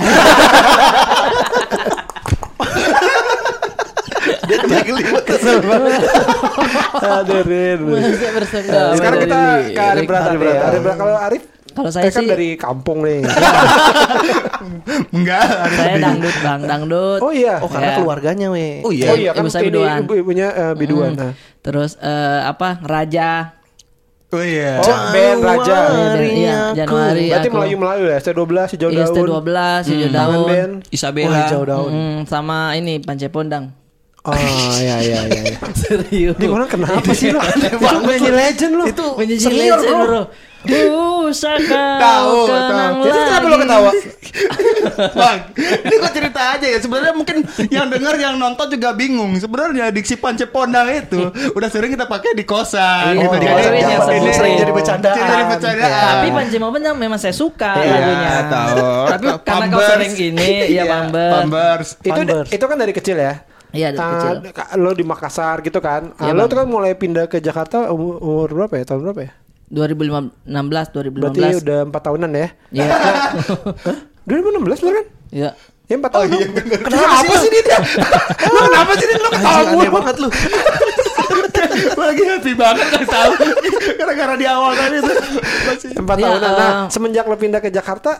Speaker 1: Aduh, Rin.
Speaker 4: Maksudnya
Speaker 2: Eh,
Speaker 4: bersenggama
Speaker 1: Nah, Sekarang kita
Speaker 4: dari-
Speaker 1: ke Arif Brata
Speaker 5: Arif
Speaker 1: deh.
Speaker 2: ya.
Speaker 5: Brata.
Speaker 1: Arif Brata. Kalau Arif
Speaker 4: ya. Kalau saya
Speaker 1: eh, kan
Speaker 4: sih-
Speaker 1: dari kampung nih. Iya,
Speaker 2: enggak ada
Speaker 4: Saya
Speaker 2: sedih.
Speaker 4: dangdut bang dangdut
Speaker 1: Oh iya.
Speaker 5: Oh karena
Speaker 4: Ya.
Speaker 5: keluarganya we.
Speaker 2: oh iya
Speaker 1: Oh iya kan
Speaker 4: Ibu saya
Speaker 1: ini
Speaker 4: biduan.
Speaker 1: ibu-ibunya eh, biduan.
Speaker 4: Hmm.
Speaker 1: nah.
Speaker 4: Terus eh, apa raja
Speaker 2: oh iya
Speaker 1: Oh, band Raja.
Speaker 4: Iya, Januari
Speaker 1: Berarti
Speaker 4: aku.
Speaker 1: Melayu-Melayu ya, C12, Hijau Daun.
Speaker 4: Iya,
Speaker 1: Mm.
Speaker 4: ST12, Hijau
Speaker 1: Tangan
Speaker 4: Daun.
Speaker 1: band.
Speaker 2: Isabella
Speaker 5: Wah, jauh dah.
Speaker 4: Mm, sama ini Pance Pondang.
Speaker 1: Oh iya iya iya. iya.
Speaker 4: Serius.
Speaker 1: Dia orang kenapa sih lo? Itu penyanyi legend lo.
Speaker 4: itu penyanyi
Speaker 1: senior,
Speaker 4: legend,
Speaker 1: bro.
Speaker 4: bro. Pusaka
Speaker 2: Tahu,
Speaker 4: kau kenang
Speaker 2: tahu.
Speaker 4: lagi.
Speaker 2: Kenapa lo ketawa? Bang, ini kok cerita aja ya. Sebenarnya mungkin yang denger yang nonton juga bingung. Sebenarnya diksi pance pondang itu udah sering kita pakai di kosan.
Speaker 4: Iya,
Speaker 2: gitu.
Speaker 4: di
Speaker 2: Jadi
Speaker 4: kosan
Speaker 2: ini
Speaker 4: yang sering-
Speaker 2: ini
Speaker 4: sering jadi
Speaker 5: bercandaan.
Speaker 2: Sering jadi bercandaan.
Speaker 4: Tapi Panci Pondang memang saya suka
Speaker 2: Ah. Iya,
Speaker 4: lagunya.
Speaker 2: tahu.
Speaker 4: Tapi karena kau
Speaker 2: Pampers.
Speaker 4: sering gini, ya
Speaker 2: Iya,
Speaker 4: Bamber.
Speaker 2: Pampers.
Speaker 1: Itu
Speaker 5: Converse.
Speaker 1: itu kan dari kecil ya.
Speaker 4: Iya, dari
Speaker 1: Ah,
Speaker 4: kecil.
Speaker 1: ka- Lo di Makassar gitu kan. Ah,
Speaker 4: Iya,
Speaker 1: lo
Speaker 4: Bang.
Speaker 1: tuh kan mulai pindah ke Jakarta umur, umur berapa ya? Tahun berapa ya?
Speaker 4: 2016, 2015.
Speaker 1: Berarti udah 4 tahunan ya.
Speaker 4: Iya.
Speaker 1: Hah? 2016 lo kan?
Speaker 4: Iya.
Speaker 1: Ya 4 tahun. dong. Kenapa, sih ini dia? lo kenapa sih ini lo ketawa
Speaker 5: Anjing, aneh
Speaker 1: mulu?
Speaker 5: banget lu.
Speaker 2: Gue lagi happy banget kan tahu. Gara-gara di awal tadi itu. Masih. ya, ah.
Speaker 1: Empat
Speaker 4: Iya,
Speaker 1: tahunan. Nah,
Speaker 4: eh.
Speaker 1: semenjak lo pindah ke Jakarta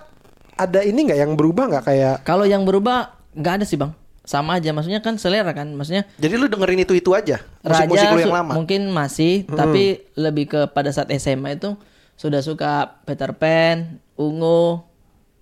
Speaker 1: ada ini nggak yang berubah nggak kayak
Speaker 4: Kalau yang berubah nggak ada sih, Bang. Sama aja maksudnya kan selera kan. Maksudnya
Speaker 5: Jadi lu dengerin itu-itu aja. Musik-musik
Speaker 4: Raja
Speaker 5: lu yang
Speaker 4: su-
Speaker 5: lama.
Speaker 4: mungkin masih
Speaker 2: Hmm.
Speaker 4: tapi lebih ke pada saat SMA itu sudah suka Peter Pan, Ungu.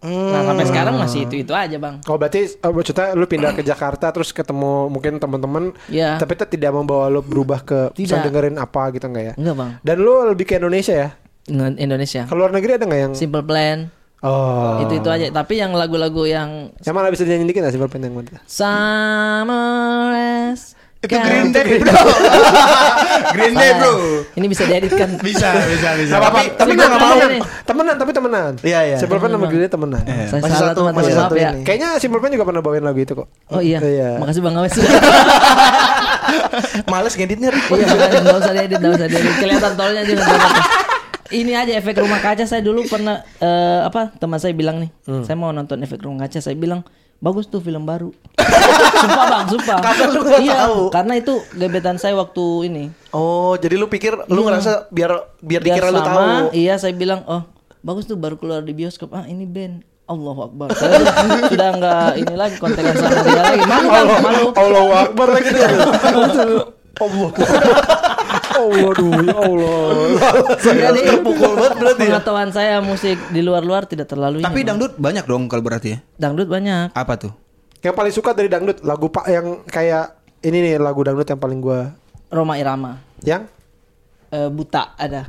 Speaker 4: Nah, sampai
Speaker 2: Hmm.
Speaker 4: sekarang masih itu-itu aja, Bang.
Speaker 1: Oh berarti eh, maksudnya lu pindah ke Jakarta terus ketemu mungkin teman-teman,
Speaker 4: Iya.
Speaker 1: tapi itu tidak membawa lu berubah ke bisa
Speaker 4: Tidak. Nah.
Speaker 1: dengerin apa gitu nggak ya?
Speaker 4: Enggak, Bang.
Speaker 1: Dan lu lebih ke Indonesia ya?
Speaker 4: Nge- Indonesia.
Speaker 1: Ke luar negeri ada nggak yang?
Speaker 4: Simple Plan.
Speaker 1: oh.
Speaker 4: Iya. Itu-itu aja, tapi yang lagu-lagu yang
Speaker 1: Yang mana bisa dinyanyiin dikit nggak sih Bang yang mana?
Speaker 4: Summer Race.
Speaker 2: Itu
Speaker 4: Ya.
Speaker 2: Green Day bro. Green Day bro.
Speaker 4: Ini bisa diedit kan?
Speaker 2: Bisa, bisa, bisa.
Speaker 1: Nggak apa-apa.
Speaker 4: tapi
Speaker 1: temenan,
Speaker 4: gua
Speaker 1: temenan,
Speaker 4: nggak mau nih.
Speaker 1: temenan, tapi temenan.
Speaker 5: Iya, iya.
Speaker 1: Simple Plan sama Green Day temenan.
Speaker 4: Saya
Speaker 5: Eh, Masih
Speaker 4: salah
Speaker 5: satu,
Speaker 4: teman
Speaker 5: masih
Speaker 4: maaf
Speaker 5: satu
Speaker 4: ya.
Speaker 5: ini.
Speaker 1: Iya. Kayaknya Simple Plan juga pernah bawain lagu itu kok.
Speaker 4: Oh iya.
Speaker 1: Iya.
Speaker 4: Makasih Bang Awes.
Speaker 5: Males ngeditnya
Speaker 4: Iya,
Speaker 5: ribet.
Speaker 4: bukan, nggak usah diedit, nggak usah diedit. Kelihatan tolnya aja. nggak apa-apa. Ini aja efek rumah kaca saya dulu pernah eh, apa teman saya bilang nih,
Speaker 5: Hmm.
Speaker 4: saya mau nonton efek rumah kaca, saya bilang bagus tuh film baru. sumpah bang, sumpah.
Speaker 5: Karena lu nggak
Speaker 4: iya,
Speaker 5: tahu.
Speaker 4: karena itu gebetan saya waktu ini.
Speaker 5: Oh, jadi lu pikir lu ngerasa biar
Speaker 4: Biar
Speaker 5: biar, dikira lu
Speaker 4: sama,
Speaker 5: tahu.
Speaker 4: Iya, saya bilang oh bagus tuh baru keluar di bioskop. Ah ini band. Allahu Akbar. Saya sudah- sudah nggak ini lagi konten yang sama dia lagi. Malu kan? Malu.
Speaker 1: Allahu Akbar lagi tuh. Allah. Allah dulu, ya Allah.
Speaker 4: Jadi
Speaker 5: terpukul banget berarti ya?
Speaker 4: Pengetahuan saya musik di luar-luar tidak terlalu
Speaker 2: Tapi
Speaker 4: ini, Bang.
Speaker 2: dangdut banyak dong kalau berarti ya.
Speaker 4: dangdut banyak.
Speaker 2: Apa tuh?
Speaker 1: Yang paling suka dari dangdut lagu Pak yang kayak ini nih lagu dangdut yang paling gua
Speaker 4: Roma Irama
Speaker 1: yang
Speaker 4: Eh, buta ada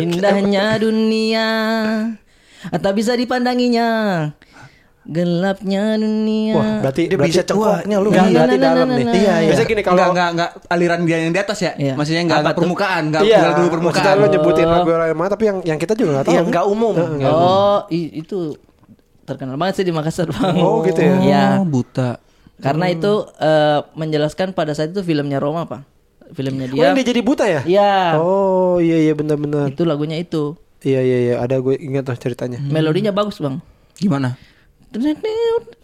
Speaker 4: indahnya dunia tak bisa dipandanginya gelapnya dunia
Speaker 1: wah berarti
Speaker 5: Dia
Speaker 1: berarti,
Speaker 5: bisa cengkoknya lu.
Speaker 1: Enggak,
Speaker 4: Iya,
Speaker 1: berarti
Speaker 4: nah, nah,
Speaker 1: dalam
Speaker 4: nah,
Speaker 1: nih.
Speaker 4: nah, nah.
Speaker 5: iya.
Speaker 1: Biasanya gini kalau
Speaker 2: Enggak, enggak, enggak aliran dia yang di atas ya.
Speaker 4: Iya.
Speaker 2: Maksudnya enggak,
Speaker 4: Apa
Speaker 2: enggak
Speaker 4: tuh?
Speaker 2: permukaan, enggak
Speaker 1: iya,
Speaker 2: lagu
Speaker 1: maksudnya
Speaker 2: permukaan.
Speaker 1: lu nyebutin lagu yang mana tapi yang yang kita juga
Speaker 4: Iya,
Speaker 1: nggak tahu.
Speaker 5: Yang enggak Iya, umum.
Speaker 4: oh i- itu terkenal banget sih di Makassar bang
Speaker 1: Oh, gitu ya? Hmm.
Speaker 4: Iya.
Speaker 2: Oh, buta.
Speaker 4: karena itu eh, menjelaskan pada saat itu filmnya Roma pak filmnya
Speaker 1: Oh, yang
Speaker 4: dia
Speaker 1: dia jadi buta ya?
Speaker 4: Iya.
Speaker 1: Oh iya iya benar-benar.
Speaker 4: itu lagunya itu
Speaker 2: Hmm.
Speaker 1: Iya iya iya ada gue ingat tuh ceritanya.
Speaker 4: melodinya bagus bang
Speaker 2: Gimana?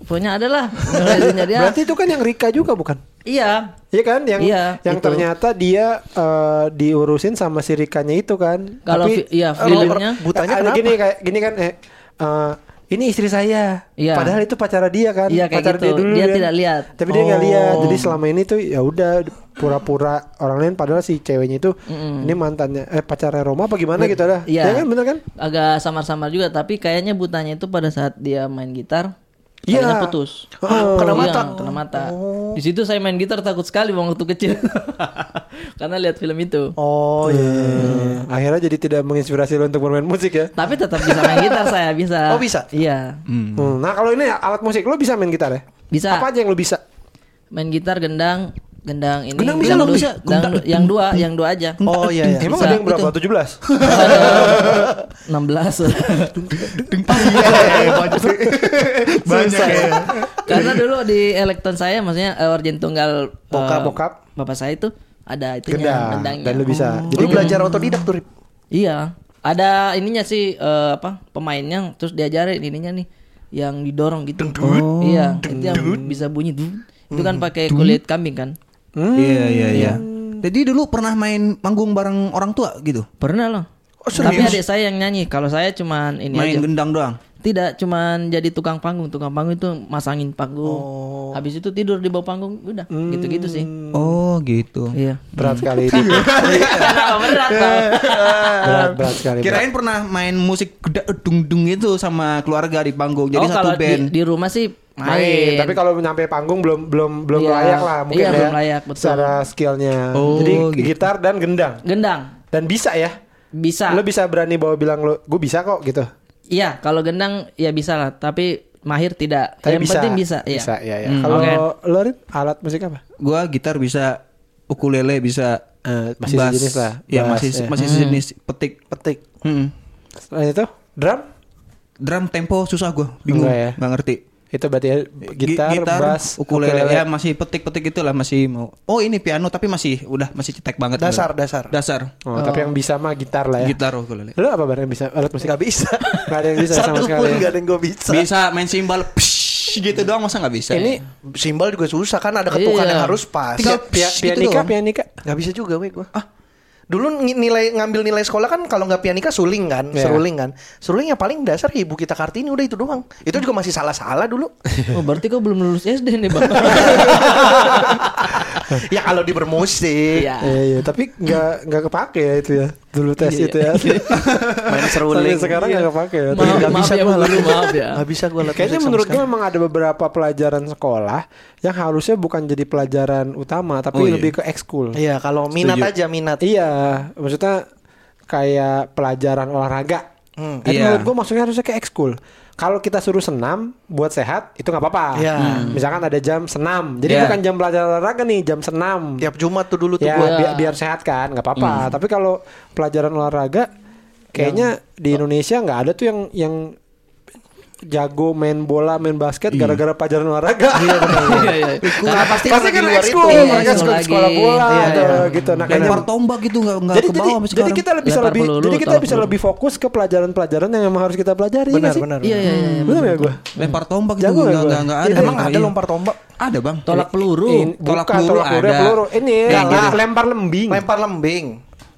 Speaker 4: Pokoknya ada lah. Mulai dia.
Speaker 1: Berarti itu kan yang Rika juga bukan?
Speaker 4: Iya.
Speaker 1: Iya kan yang
Speaker 4: Iya,
Speaker 1: yang
Speaker 4: itu.
Speaker 1: ternyata dia eh, diurusin sama si Rikanya itu kan.
Speaker 4: Kalau
Speaker 1: Tapi
Speaker 4: fi- iya,
Speaker 1: kalau
Speaker 4: feelingnya.
Speaker 1: per- butanya ada gini kayak gini kan eh, eh, ini istri saya.
Speaker 4: Iya.
Speaker 1: Padahal itu pacara dia kan.
Speaker 4: Iya, kayak
Speaker 1: pacar
Speaker 4: gitu. Dia tidak lihat.
Speaker 1: Tapi dia nggak
Speaker 4: Oh.
Speaker 1: lihat. Jadi selama ini tuh ya udah pura-pura orang lain padahal si ceweknya itu ini mantannya eh pacarnya Roma apa gimana gitu dah.
Speaker 4: Iya.
Speaker 1: kan bener kan?
Speaker 4: Agak samar-samar juga tapi kayaknya butanya itu pada saat dia main gitar
Speaker 1: Iya.
Speaker 4: kayaknya putus.
Speaker 1: Oh.
Speaker 4: kena mata. kena mata. Di situ saya main gitar takut sekali waktu kecil. Karena lihat film itu.
Speaker 1: Oh iya. Akhirnya jadi tidak menginspirasi lo untuk bermain musik ya.
Speaker 4: Tapi tetap bisa main gitar saya bisa.
Speaker 5: Oh, bisa?
Speaker 4: Iya.
Speaker 1: Hmm, Nah kalau ini alat musik lo bisa main gitar ya?
Speaker 4: Bisa.
Speaker 1: Apa aja yang lo bisa?
Speaker 4: Main gitar gendang gendang ini
Speaker 3: Gendang bisa, lo
Speaker 4: dangdut,
Speaker 3: bisa. Gendang.
Speaker 4: dangdut. yang dua yang dua aja
Speaker 5: Oh iya iya.
Speaker 1: Emang
Speaker 4: Ya,
Speaker 1: ada
Speaker 4: Bisa.
Speaker 1: yang berapa? 17?
Speaker 4: 16
Speaker 3: Banyak ya.
Speaker 4: Karena dulu di elektron saya maksudnya eh, organ tunggal eh,
Speaker 1: Bokap, bokap.
Speaker 4: Bapak saya itu ada itunya
Speaker 1: Gendang
Speaker 4: Iya, gendangnya. Oh.
Speaker 1: dan lu bisa.
Speaker 5: Jadi
Speaker 1: Jadi
Speaker 5: belajar otodidak tuh Rip.
Speaker 4: Iya. Ada ininya sih eh, apa pemainnya terus diajarin ininya nih yang didorong gitu. Iya, itu yang bisa bunyi dun. Itu kan pakai kulit kambing kan?
Speaker 2: Iya iya iya. Jadi dulu pernah main manggung bareng orang tua gitu.
Speaker 4: Pernah loh. Tapi adik saya yang nyanyi. Kalau saya cuman ini
Speaker 2: main
Speaker 4: aja.
Speaker 2: gendang doang.
Speaker 4: Tidak cuman jadi tukang panggung. Tukang panggung itu masangin panggung. Habis itu tidur di bawah panggung udah. Gitu-gitu sih.
Speaker 2: Oh gitu.
Speaker 4: Hmm. Iya.
Speaker 1: berat sekali ini.
Speaker 4: Kenapa berat Bang?
Speaker 1: berat berat sekali. berat.
Speaker 2: Kirain pernah main musik dung dung itu sama keluarga di panggung. Jadi
Speaker 4: oh,
Speaker 2: satu
Speaker 4: kalau
Speaker 2: band.
Speaker 4: Di, di rumah sih main.
Speaker 1: Main. Tapi kalau nyampe panggung belum belum belum
Speaker 4: Iya.
Speaker 1: layak lah mungkin
Speaker 4: Iya,
Speaker 1: ya.
Speaker 4: belum layak, betul.
Speaker 1: Secara skillnya.
Speaker 2: Oh,
Speaker 1: Jadi
Speaker 2: gitu.
Speaker 1: gitar dan gendang
Speaker 4: gendang
Speaker 1: dan bisa ya.
Speaker 4: bisa.
Speaker 1: Lo bisa berani bawa bilang lo, gue bisa kok gitu.
Speaker 4: Iya, kalau gendang ya bisa lah, tapi mahir tidak.
Speaker 1: Tapi
Speaker 4: Yang
Speaker 1: bisa.
Speaker 4: penting Eh, bisa, iya.
Speaker 1: Bisa ya. ya.
Speaker 2: Hmm,
Speaker 1: Kalau
Speaker 4: oke.
Speaker 1: lo Rin, alat musik apa?
Speaker 2: Gua gitar bisa, ukulele bisa,
Speaker 1: Eh, masih sejenis lah,
Speaker 2: Ya
Speaker 1: bass,
Speaker 2: masih
Speaker 1: ya.
Speaker 2: masih
Speaker 4: Hmm.
Speaker 2: sejenis petik.
Speaker 5: Petik.
Speaker 2: Mm.
Speaker 1: Selain itu drum
Speaker 2: Drum tempo susah gua, bingung,
Speaker 1: Enggak ya?
Speaker 2: nggak ngerti.
Speaker 1: itu berarti ya,
Speaker 2: Gi-
Speaker 1: gitar, bass,
Speaker 2: ukulele, ya masih petik-petik itulah masih mau. Oh ini piano tapi masih udah masih cetek banget.
Speaker 5: Dasar,
Speaker 2: Udah.
Speaker 5: dasar.
Speaker 2: Dasar.
Speaker 1: Oh, Tapi yang bisa mah gitar lah ya.
Speaker 2: Gitar ukulele.
Speaker 1: Lo apa barang yang bisa alat musik?
Speaker 5: Gak bisa.
Speaker 1: Gak ada yang bisa sama
Speaker 5: Satu
Speaker 1: sekali.
Speaker 5: pun gak ada yang gue bisa.
Speaker 2: Bisa main simbal psh, gitu doang masa nggak bisa?
Speaker 1: Ini
Speaker 5: Simbal juga susah kan ada ketukan
Speaker 4: Iya.
Speaker 5: yang harus pas.
Speaker 2: Tinggal-
Speaker 1: pia-
Speaker 2: Shh, gitu
Speaker 1: pianika,
Speaker 2: doang.
Speaker 1: pianika.
Speaker 5: Gak bisa juga weh gue ah. Dulu ngi- nilai ngambil nilai sekolah kan kalau nggak pianika suling kan,
Speaker 1: Iya.
Speaker 5: seruling kan. Seruling yang paling dasar ya ibu kita Kartini udah itu doang. Itu juga masih salah-salah dulu.
Speaker 4: Oh, berarti kau belum lulus SD nih, Bang.
Speaker 5: ya kalau di bermusik.
Speaker 2: Ah.
Speaker 4: Iya.
Speaker 1: Iya, iya, tapi nggak nggak kepake ya itu ya. Dulu tes
Speaker 4: Iya,
Speaker 1: itu ya.
Speaker 5: Main
Speaker 1: Sampai
Speaker 5: seruling.
Speaker 1: sekarang nggak
Speaker 2: Iya.
Speaker 1: kepake ya.
Speaker 4: Maaf,
Speaker 5: Nggak
Speaker 4: maaf
Speaker 5: bisa
Speaker 4: ya,
Speaker 5: gua
Speaker 4: Bu
Speaker 5: lah.
Speaker 4: Guru, maaf ya.
Speaker 5: Gak bisa gue
Speaker 1: Kayaknya menurut gue memang ada beberapa pelajaran sekolah yang harusnya bukan jadi pelajaran utama tapi
Speaker 2: Oh, iya.
Speaker 1: lebih ke ekskul.
Speaker 5: Iya kalau minat
Speaker 2: Setuju.
Speaker 5: aja minat.
Speaker 1: Iya, maksudnya kayak pelajaran olahraga.
Speaker 5: Hmm.
Speaker 1: Itu
Speaker 2: Iya.
Speaker 1: menurut gue maksudnya harusnya ke ekskul. Kalau kita suruh senam buat sehat itu nggak apa-apa.
Speaker 5: Iya.
Speaker 1: Misalkan ada jam senam. Jadi
Speaker 2: Iya.
Speaker 1: bukan jam pelajaran olahraga nih, jam senam.
Speaker 5: Tiap Jumat tuh dulu tuh
Speaker 4: Iya.
Speaker 1: ya
Speaker 5: gue.
Speaker 1: biar, biar sehat kan nggak apa-apa
Speaker 5: Hmm.
Speaker 1: tapi kalau pelajaran olahraga kayaknya di Indonesia nggak ada tuh yang yang jago main bola main basket gara-gara pelajaran olahraga
Speaker 4: Iya, iya. Karena pasti
Speaker 1: pasti
Speaker 5: karena
Speaker 1: kan
Speaker 5: di luar
Speaker 1: ekskul
Speaker 5: itu.
Speaker 4: Iya,
Speaker 1: mereka
Speaker 4: ekskul
Speaker 1: sekolah,
Speaker 4: lagi.
Speaker 1: sekolah bola
Speaker 5: Iya,
Speaker 1: atau
Speaker 5: iya.
Speaker 1: gitu nah kayaknya
Speaker 2: Lempar tombak gitu nggak nggak
Speaker 1: jadi,
Speaker 2: ke bawah
Speaker 1: jadi,
Speaker 2: sampai
Speaker 1: jadi
Speaker 2: sekarang.
Speaker 1: kita bisa
Speaker 4: Lempar
Speaker 1: lebih
Speaker 4: peluru,
Speaker 1: jadi kita
Speaker 4: tolak
Speaker 1: bisa
Speaker 4: peluru.
Speaker 1: lebih fokus ke pelajaran-pelajaran yang memang harus kita pelajari
Speaker 5: Benar,
Speaker 1: ya sih?
Speaker 5: benar,
Speaker 4: Iya, iya, iya. iya.
Speaker 1: benar ya gue
Speaker 2: Lempar tombak itu
Speaker 1: Jago ya
Speaker 2: nggak
Speaker 1: gua.
Speaker 2: nggak nggak ada.
Speaker 5: Emang
Speaker 2: Iya.
Speaker 5: ada lempar tombak.
Speaker 2: Ada bang.
Speaker 4: Tolak peluru.
Speaker 1: In,
Speaker 2: Tolak
Speaker 1: bukan,
Speaker 2: peluru
Speaker 1: tolak peluru, ya,
Speaker 2: ada.
Speaker 1: peluru. ini
Speaker 2: Kayak
Speaker 1: lempar-
Speaker 2: gitu.
Speaker 1: lempar lembing
Speaker 5: Lempar lembing.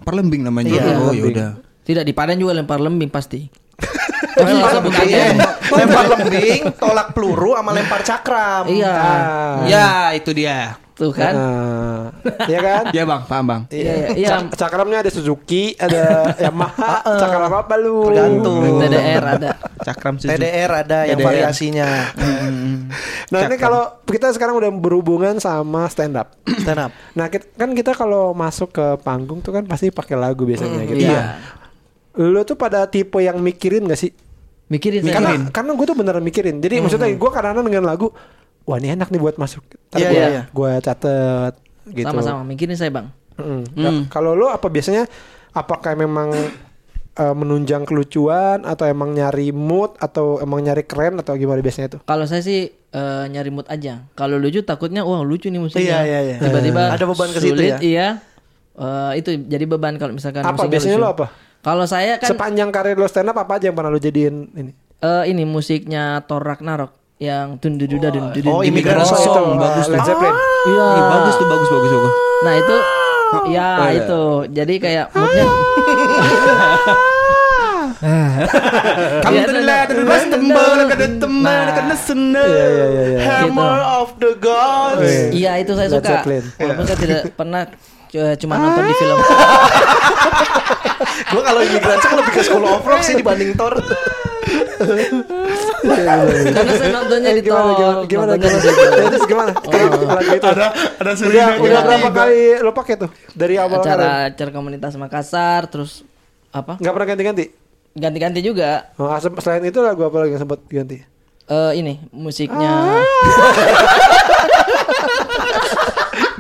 Speaker 2: Perlembing namanya.
Speaker 5: Iya,
Speaker 2: oh
Speaker 1: lembing.
Speaker 2: yaudah.
Speaker 4: Tidak di Padang juga lempar lembing pasti.
Speaker 5: Lempar
Speaker 4: Iya,
Speaker 5: lembing.
Speaker 4: iya.
Speaker 5: Lempar lembing, tolak peluru sama lempar cakram. Nah,
Speaker 4: Iya.
Speaker 1: Ah.
Speaker 2: Ya itu dia.
Speaker 4: Tuh kan.
Speaker 1: Nah, Iya kan?
Speaker 2: Ya bang, paham bang.
Speaker 4: Iya, iya, iya.
Speaker 1: Cak- cakramnya ada Suzuki, ada Yamaha, cakram apa lu?
Speaker 5: Tergantung.
Speaker 4: TDR ada.
Speaker 2: Cakram Suzuki.
Speaker 5: TDR ada yang
Speaker 2: TDR.
Speaker 5: variasinya.
Speaker 2: Hmm.
Speaker 1: Nah, ini kalau kita sekarang udah berhubungan sama stand up.
Speaker 5: Stand up.
Speaker 1: Nah, kit- kan kita kalau masuk ke panggung tuh kan pasti pakai lagu biasanya gitu.
Speaker 4: Iya.
Speaker 1: Nah, Lu tuh pada tipe yang mikirin gak sih?
Speaker 4: Mikirin saya.
Speaker 1: Karena karena gue tuh beneran mikirin. Jadi maksudnya gue kadang-kadang dengan lagu, wah ini enak nih buat masuk. Ntar
Speaker 5: Iya,
Speaker 1: gua-
Speaker 5: iya, iya.
Speaker 1: gua catet gitu.
Speaker 4: Sama-sama mikirin saya, Bang.
Speaker 1: Mm.
Speaker 2: Hmm.
Speaker 1: Nah, Kalau lo apa biasanya apakah memang eh, menunjang kelucuan atau emang nyari mood atau emang nyari keren atau gimana biasanya tuh?
Speaker 4: Kalau saya sih eh, nyari mood aja. Kalau lucu takutnya wah lucu nih
Speaker 5: Iya,
Speaker 4: musiknya.
Speaker 5: iya, iya.
Speaker 4: Tiba-tiba
Speaker 5: Ada beban ke situ
Speaker 4: sulit,
Speaker 5: ya?
Speaker 4: Iya. Eh, itu jadi beban kalau misalkan
Speaker 1: Apa?
Speaker 4: musiknya
Speaker 1: Biasanya
Speaker 4: lucu.
Speaker 1: lo apa?
Speaker 4: Kalau saya kan
Speaker 1: Sepanjang karir lo stand up apa aja yang pernah lo jadiin ini?
Speaker 4: eh, ini musiknya Thor Ragnarok. yang tun dududa dun dudun
Speaker 5: Oh,
Speaker 4: dun
Speaker 5: Immigrant
Speaker 4: dudun.
Speaker 5: Song.
Speaker 1: itu,
Speaker 2: bagus
Speaker 1: Ah, Led
Speaker 2: tuh.
Speaker 1: Zeppelin.
Speaker 4: Iya.
Speaker 2: Ih, bagus tuh bagus bagus bagus.
Speaker 4: Nah itu Ya
Speaker 2: iya.
Speaker 4: itu Jadi kayak moodnya
Speaker 3: Kamu
Speaker 4: Iya,
Speaker 3: telah
Speaker 4: iya.
Speaker 3: terbebas tembel kena teman
Speaker 4: Nah.
Speaker 3: kena seneng.
Speaker 1: Iya, iya, iya, iya.
Speaker 5: Hammer of the gods.
Speaker 1: Iya.
Speaker 4: Iya itu saya
Speaker 1: Led
Speaker 4: suka
Speaker 1: Zeppelin.
Speaker 4: Walaupun saya tidak pernah c- Cuma nonton di film
Speaker 5: Gue kalau imigran song lebih ke School of Rock sih dibanding Thor.
Speaker 4: Karena saya nontonnya di
Speaker 1: Eh, Gimana,
Speaker 4: tol
Speaker 1: gimana, gimana, gimana?
Speaker 4: nontonnya di tol.
Speaker 1: Ya, Terus gimana?
Speaker 2: Oh.
Speaker 1: Lagu itu.
Speaker 3: Ada ada
Speaker 1: Udah,
Speaker 3: Selena
Speaker 1: udah
Speaker 3: Gomez.
Speaker 1: berapa kali lo pakai tuh dari awal kalian?
Speaker 4: Acara acara komunitas Makassar Terus apa
Speaker 1: Gak pernah ganti-ganti.
Speaker 4: ganti-ganti juga
Speaker 1: Oh, asem- selain itu lagu apa lagi yang sempat ganti?
Speaker 4: eh ini musiknya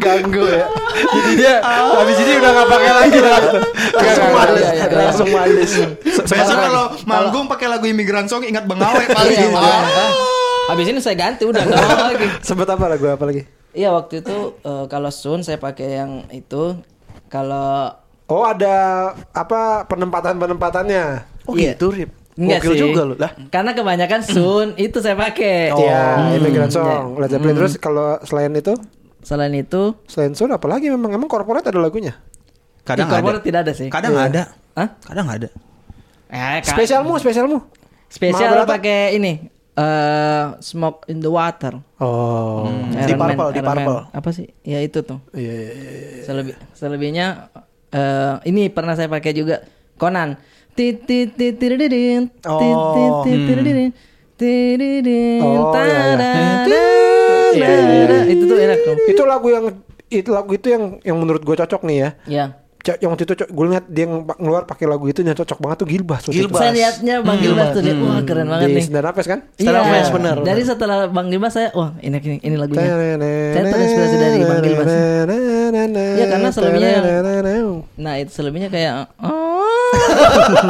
Speaker 1: Ganggu ya. Jadi dia habis ini udah gak pakai lagi
Speaker 5: Langsung
Speaker 1: Iya. Langsung Iya,
Speaker 5: malas.
Speaker 1: malis, langsung malis.
Speaker 3: Besok kalau manggung pakai lagu imigran song ingat Bengawe paling.
Speaker 4: Iya,
Speaker 3: Ah.
Speaker 4: makanya. Habis ini saya ganti udah nggak mau lagi.
Speaker 1: Sempat apa lagu apa lagi?
Speaker 4: Iya waktu itu eh, kalau Sun saya pakai yang itu kalau
Speaker 1: Oh ada apa penempatan-penempatannya?
Speaker 5: Oh
Speaker 4: Iya.
Speaker 5: gitu, Rip.
Speaker 4: Enggak
Speaker 5: Gokil
Speaker 4: sih.
Speaker 5: juga lu. Lah,
Speaker 4: Karena kebanyakan Sun itu saya pakai.
Speaker 1: Iya, Hmm. Immigrant Song, Led Zeppelin. Terus kalau selain itu,
Speaker 4: Selain itu
Speaker 1: selain Sun apa lagi memang emang korporat ada lagunya?
Speaker 2: Kadang
Speaker 4: di corporate
Speaker 2: ada.
Speaker 4: tidak ada sih. Iya.
Speaker 2: Kadang ada.
Speaker 4: Hah?
Speaker 2: Kadang ada.
Speaker 4: Eh, ka-
Speaker 1: Spesialmu, spesialmu. Mahal
Speaker 4: spesial
Speaker 1: berapa?
Speaker 4: pakai ini eh smoke in the water.
Speaker 1: Oh.
Speaker 5: Hmm. Di
Speaker 4: Iron Man,
Speaker 5: Purple, di
Speaker 4: Iron Man.
Speaker 5: Purple.
Speaker 4: Apa sih? Ya itu tuh.
Speaker 1: Iya, iya, iya.
Speaker 4: Selebi- selebihnya eh ini pernah saya pakai juga Conan. Tit tit tit tiriririn, tit, tit,
Speaker 5: Oh. ya,
Speaker 4: tit, tiriririn, tiriririn,
Speaker 1: Oh, iya, iya.
Speaker 4: tadadada,
Speaker 1: Iya, iya, iya.
Speaker 4: Itu tuh enak tuh.
Speaker 1: Itu lagu yang itu lagu itu yang yang menurut gue cocok nih ya.
Speaker 4: Ya.
Speaker 1: Cok, yang waktu itu cok, gue liat dia ng- ngeluar pakai lagu itu yang cocok banget tuh Gilbas. waktu
Speaker 5: Gilbas.
Speaker 4: Saya lihatnya Bang
Speaker 5: Hmm.
Speaker 4: Gilbas tuh lihat, wah keren
Speaker 1: itu.
Speaker 4: banget
Speaker 1: Di
Speaker 4: nih.
Speaker 1: Sendal Napes kan?
Speaker 5: Stand-up
Speaker 4: Iya.
Speaker 5: Fest, bener,
Speaker 4: Jadi setelah Bang Gilbas saya wah ini ini, ini lagunya. Saya terinspirasi dari Bang Gilbas. Iya, karena selebihnya yang- Nah, itu selebihnya kayak oh.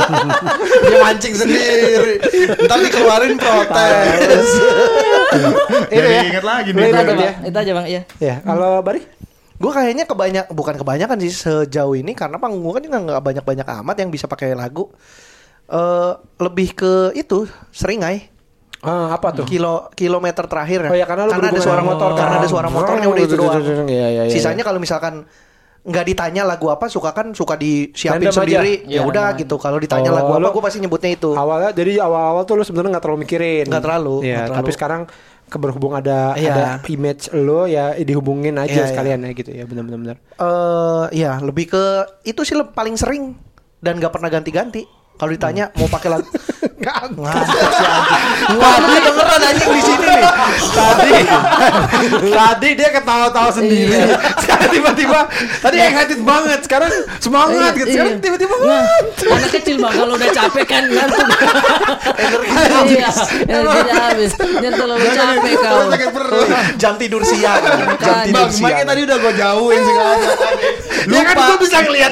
Speaker 3: Dia mancing sendiri. Entar dikeluarin protes.
Speaker 1: Itu
Speaker 3: Jadi
Speaker 1: ya.
Speaker 3: ingat lagi
Speaker 1: Lu
Speaker 3: nih.
Speaker 4: itu
Speaker 1: ingat
Speaker 4: aja,
Speaker 1: ya?
Speaker 4: Bang. Itu aja, Bang. Iya.
Speaker 1: Ya, kalau Bari?
Speaker 5: gue kayaknya kebanyak bukan kebanyakan sih sejauh ini karena panggung gue kan juga nggak banyak-banyak amat yang bisa pakai lagu. Eh lebih ke itu seringai
Speaker 1: Ah, apa
Speaker 4: Gitu.
Speaker 1: tuh?
Speaker 5: kilo kilometer terakhir ya.
Speaker 1: Oh ya, karena lu
Speaker 5: ada
Speaker 1: berhubungan
Speaker 5: suara
Speaker 1: sama
Speaker 5: motor,
Speaker 1: motor.
Speaker 5: karena ada suara
Speaker 1: Oh.
Speaker 5: motornya udah itu doang.
Speaker 1: Iya, iya, iya, iya.
Speaker 5: Sisanya kalau misalkan nggak ditanya lagu apa suka kan suka disiapin
Speaker 1: Random aja.
Speaker 5: sendiri ya
Speaker 4: Iya,
Speaker 5: udah
Speaker 4: random aja.
Speaker 5: gitu kalau ditanya
Speaker 1: Oh,
Speaker 5: lagu apa
Speaker 1: lu-
Speaker 5: gue pasti nyebutnya itu
Speaker 1: Awalnya jadi awal-awal tuh lu sebenarnya nggak terlalu mikirin.
Speaker 5: Nggak terlalu, nggak
Speaker 1: Iya,
Speaker 5: terlalu.
Speaker 1: tapi sekarang keberhubung ada
Speaker 5: Iya.
Speaker 1: ada image lo ya dihubungin
Speaker 5: Iya,
Speaker 1: aja
Speaker 5: iya.
Speaker 1: sekalian ya gitu ya benar-benar. benar.
Speaker 5: eh ya lebih ke itu sih le- paling sering dan nggak pernah ganti-ganti kalau ditanya
Speaker 1: Hmm.
Speaker 5: mau pakai lagu ngantuk sih anjing. Wah, lu dengeran anjing di sini nih.
Speaker 1: tadi tadi dia ketawa-tawa sendiri sekarang tiba-tiba tadi excited banget sekarang
Speaker 2: Oh,
Speaker 1: semangat gitu sekarang
Speaker 4: Iya.
Speaker 1: tiba-tiba
Speaker 4: Nah,
Speaker 1: wah,
Speaker 4: anak kecil bang kalau udah capek kan ngantuk.
Speaker 5: Energi
Speaker 4: Iya, energi habis. Dia terlalu capek kau.
Speaker 3: Sakit perut.
Speaker 5: jam tidur siang. Jam
Speaker 4: Makanya.
Speaker 5: tidur
Speaker 3: Bang, makanya
Speaker 5: siang.
Speaker 3: tadi udah gue jauhin segala macam.
Speaker 1: ya kan gue bisa ngeliat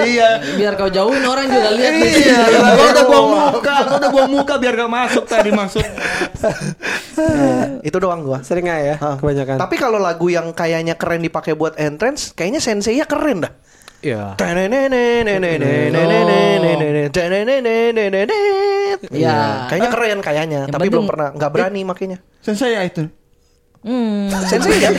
Speaker 3: Iya.
Speaker 4: Biar kau jauhin orang juga lihat nih.
Speaker 3: Iya, gua udah buang muka, gua udah buang muka biar gak masuk tadi maksud.
Speaker 5: Itu doang gua.
Speaker 1: sering aja ya
Speaker 5: Hah.
Speaker 1: kebanyakan
Speaker 5: Tapi kalau lagu yang kayaknya keren dipakai buat entrance, kayaknya sensei-nya keren dah.
Speaker 1: ya
Speaker 5: Iya, kayaknya keren kayaknya,
Speaker 4: Yang
Speaker 5: tapi
Speaker 4: penting-
Speaker 5: belum pernah nggak berani makanya.
Speaker 3: Sensei ya itu.
Speaker 4: Hmm.
Speaker 5: Sensei ya,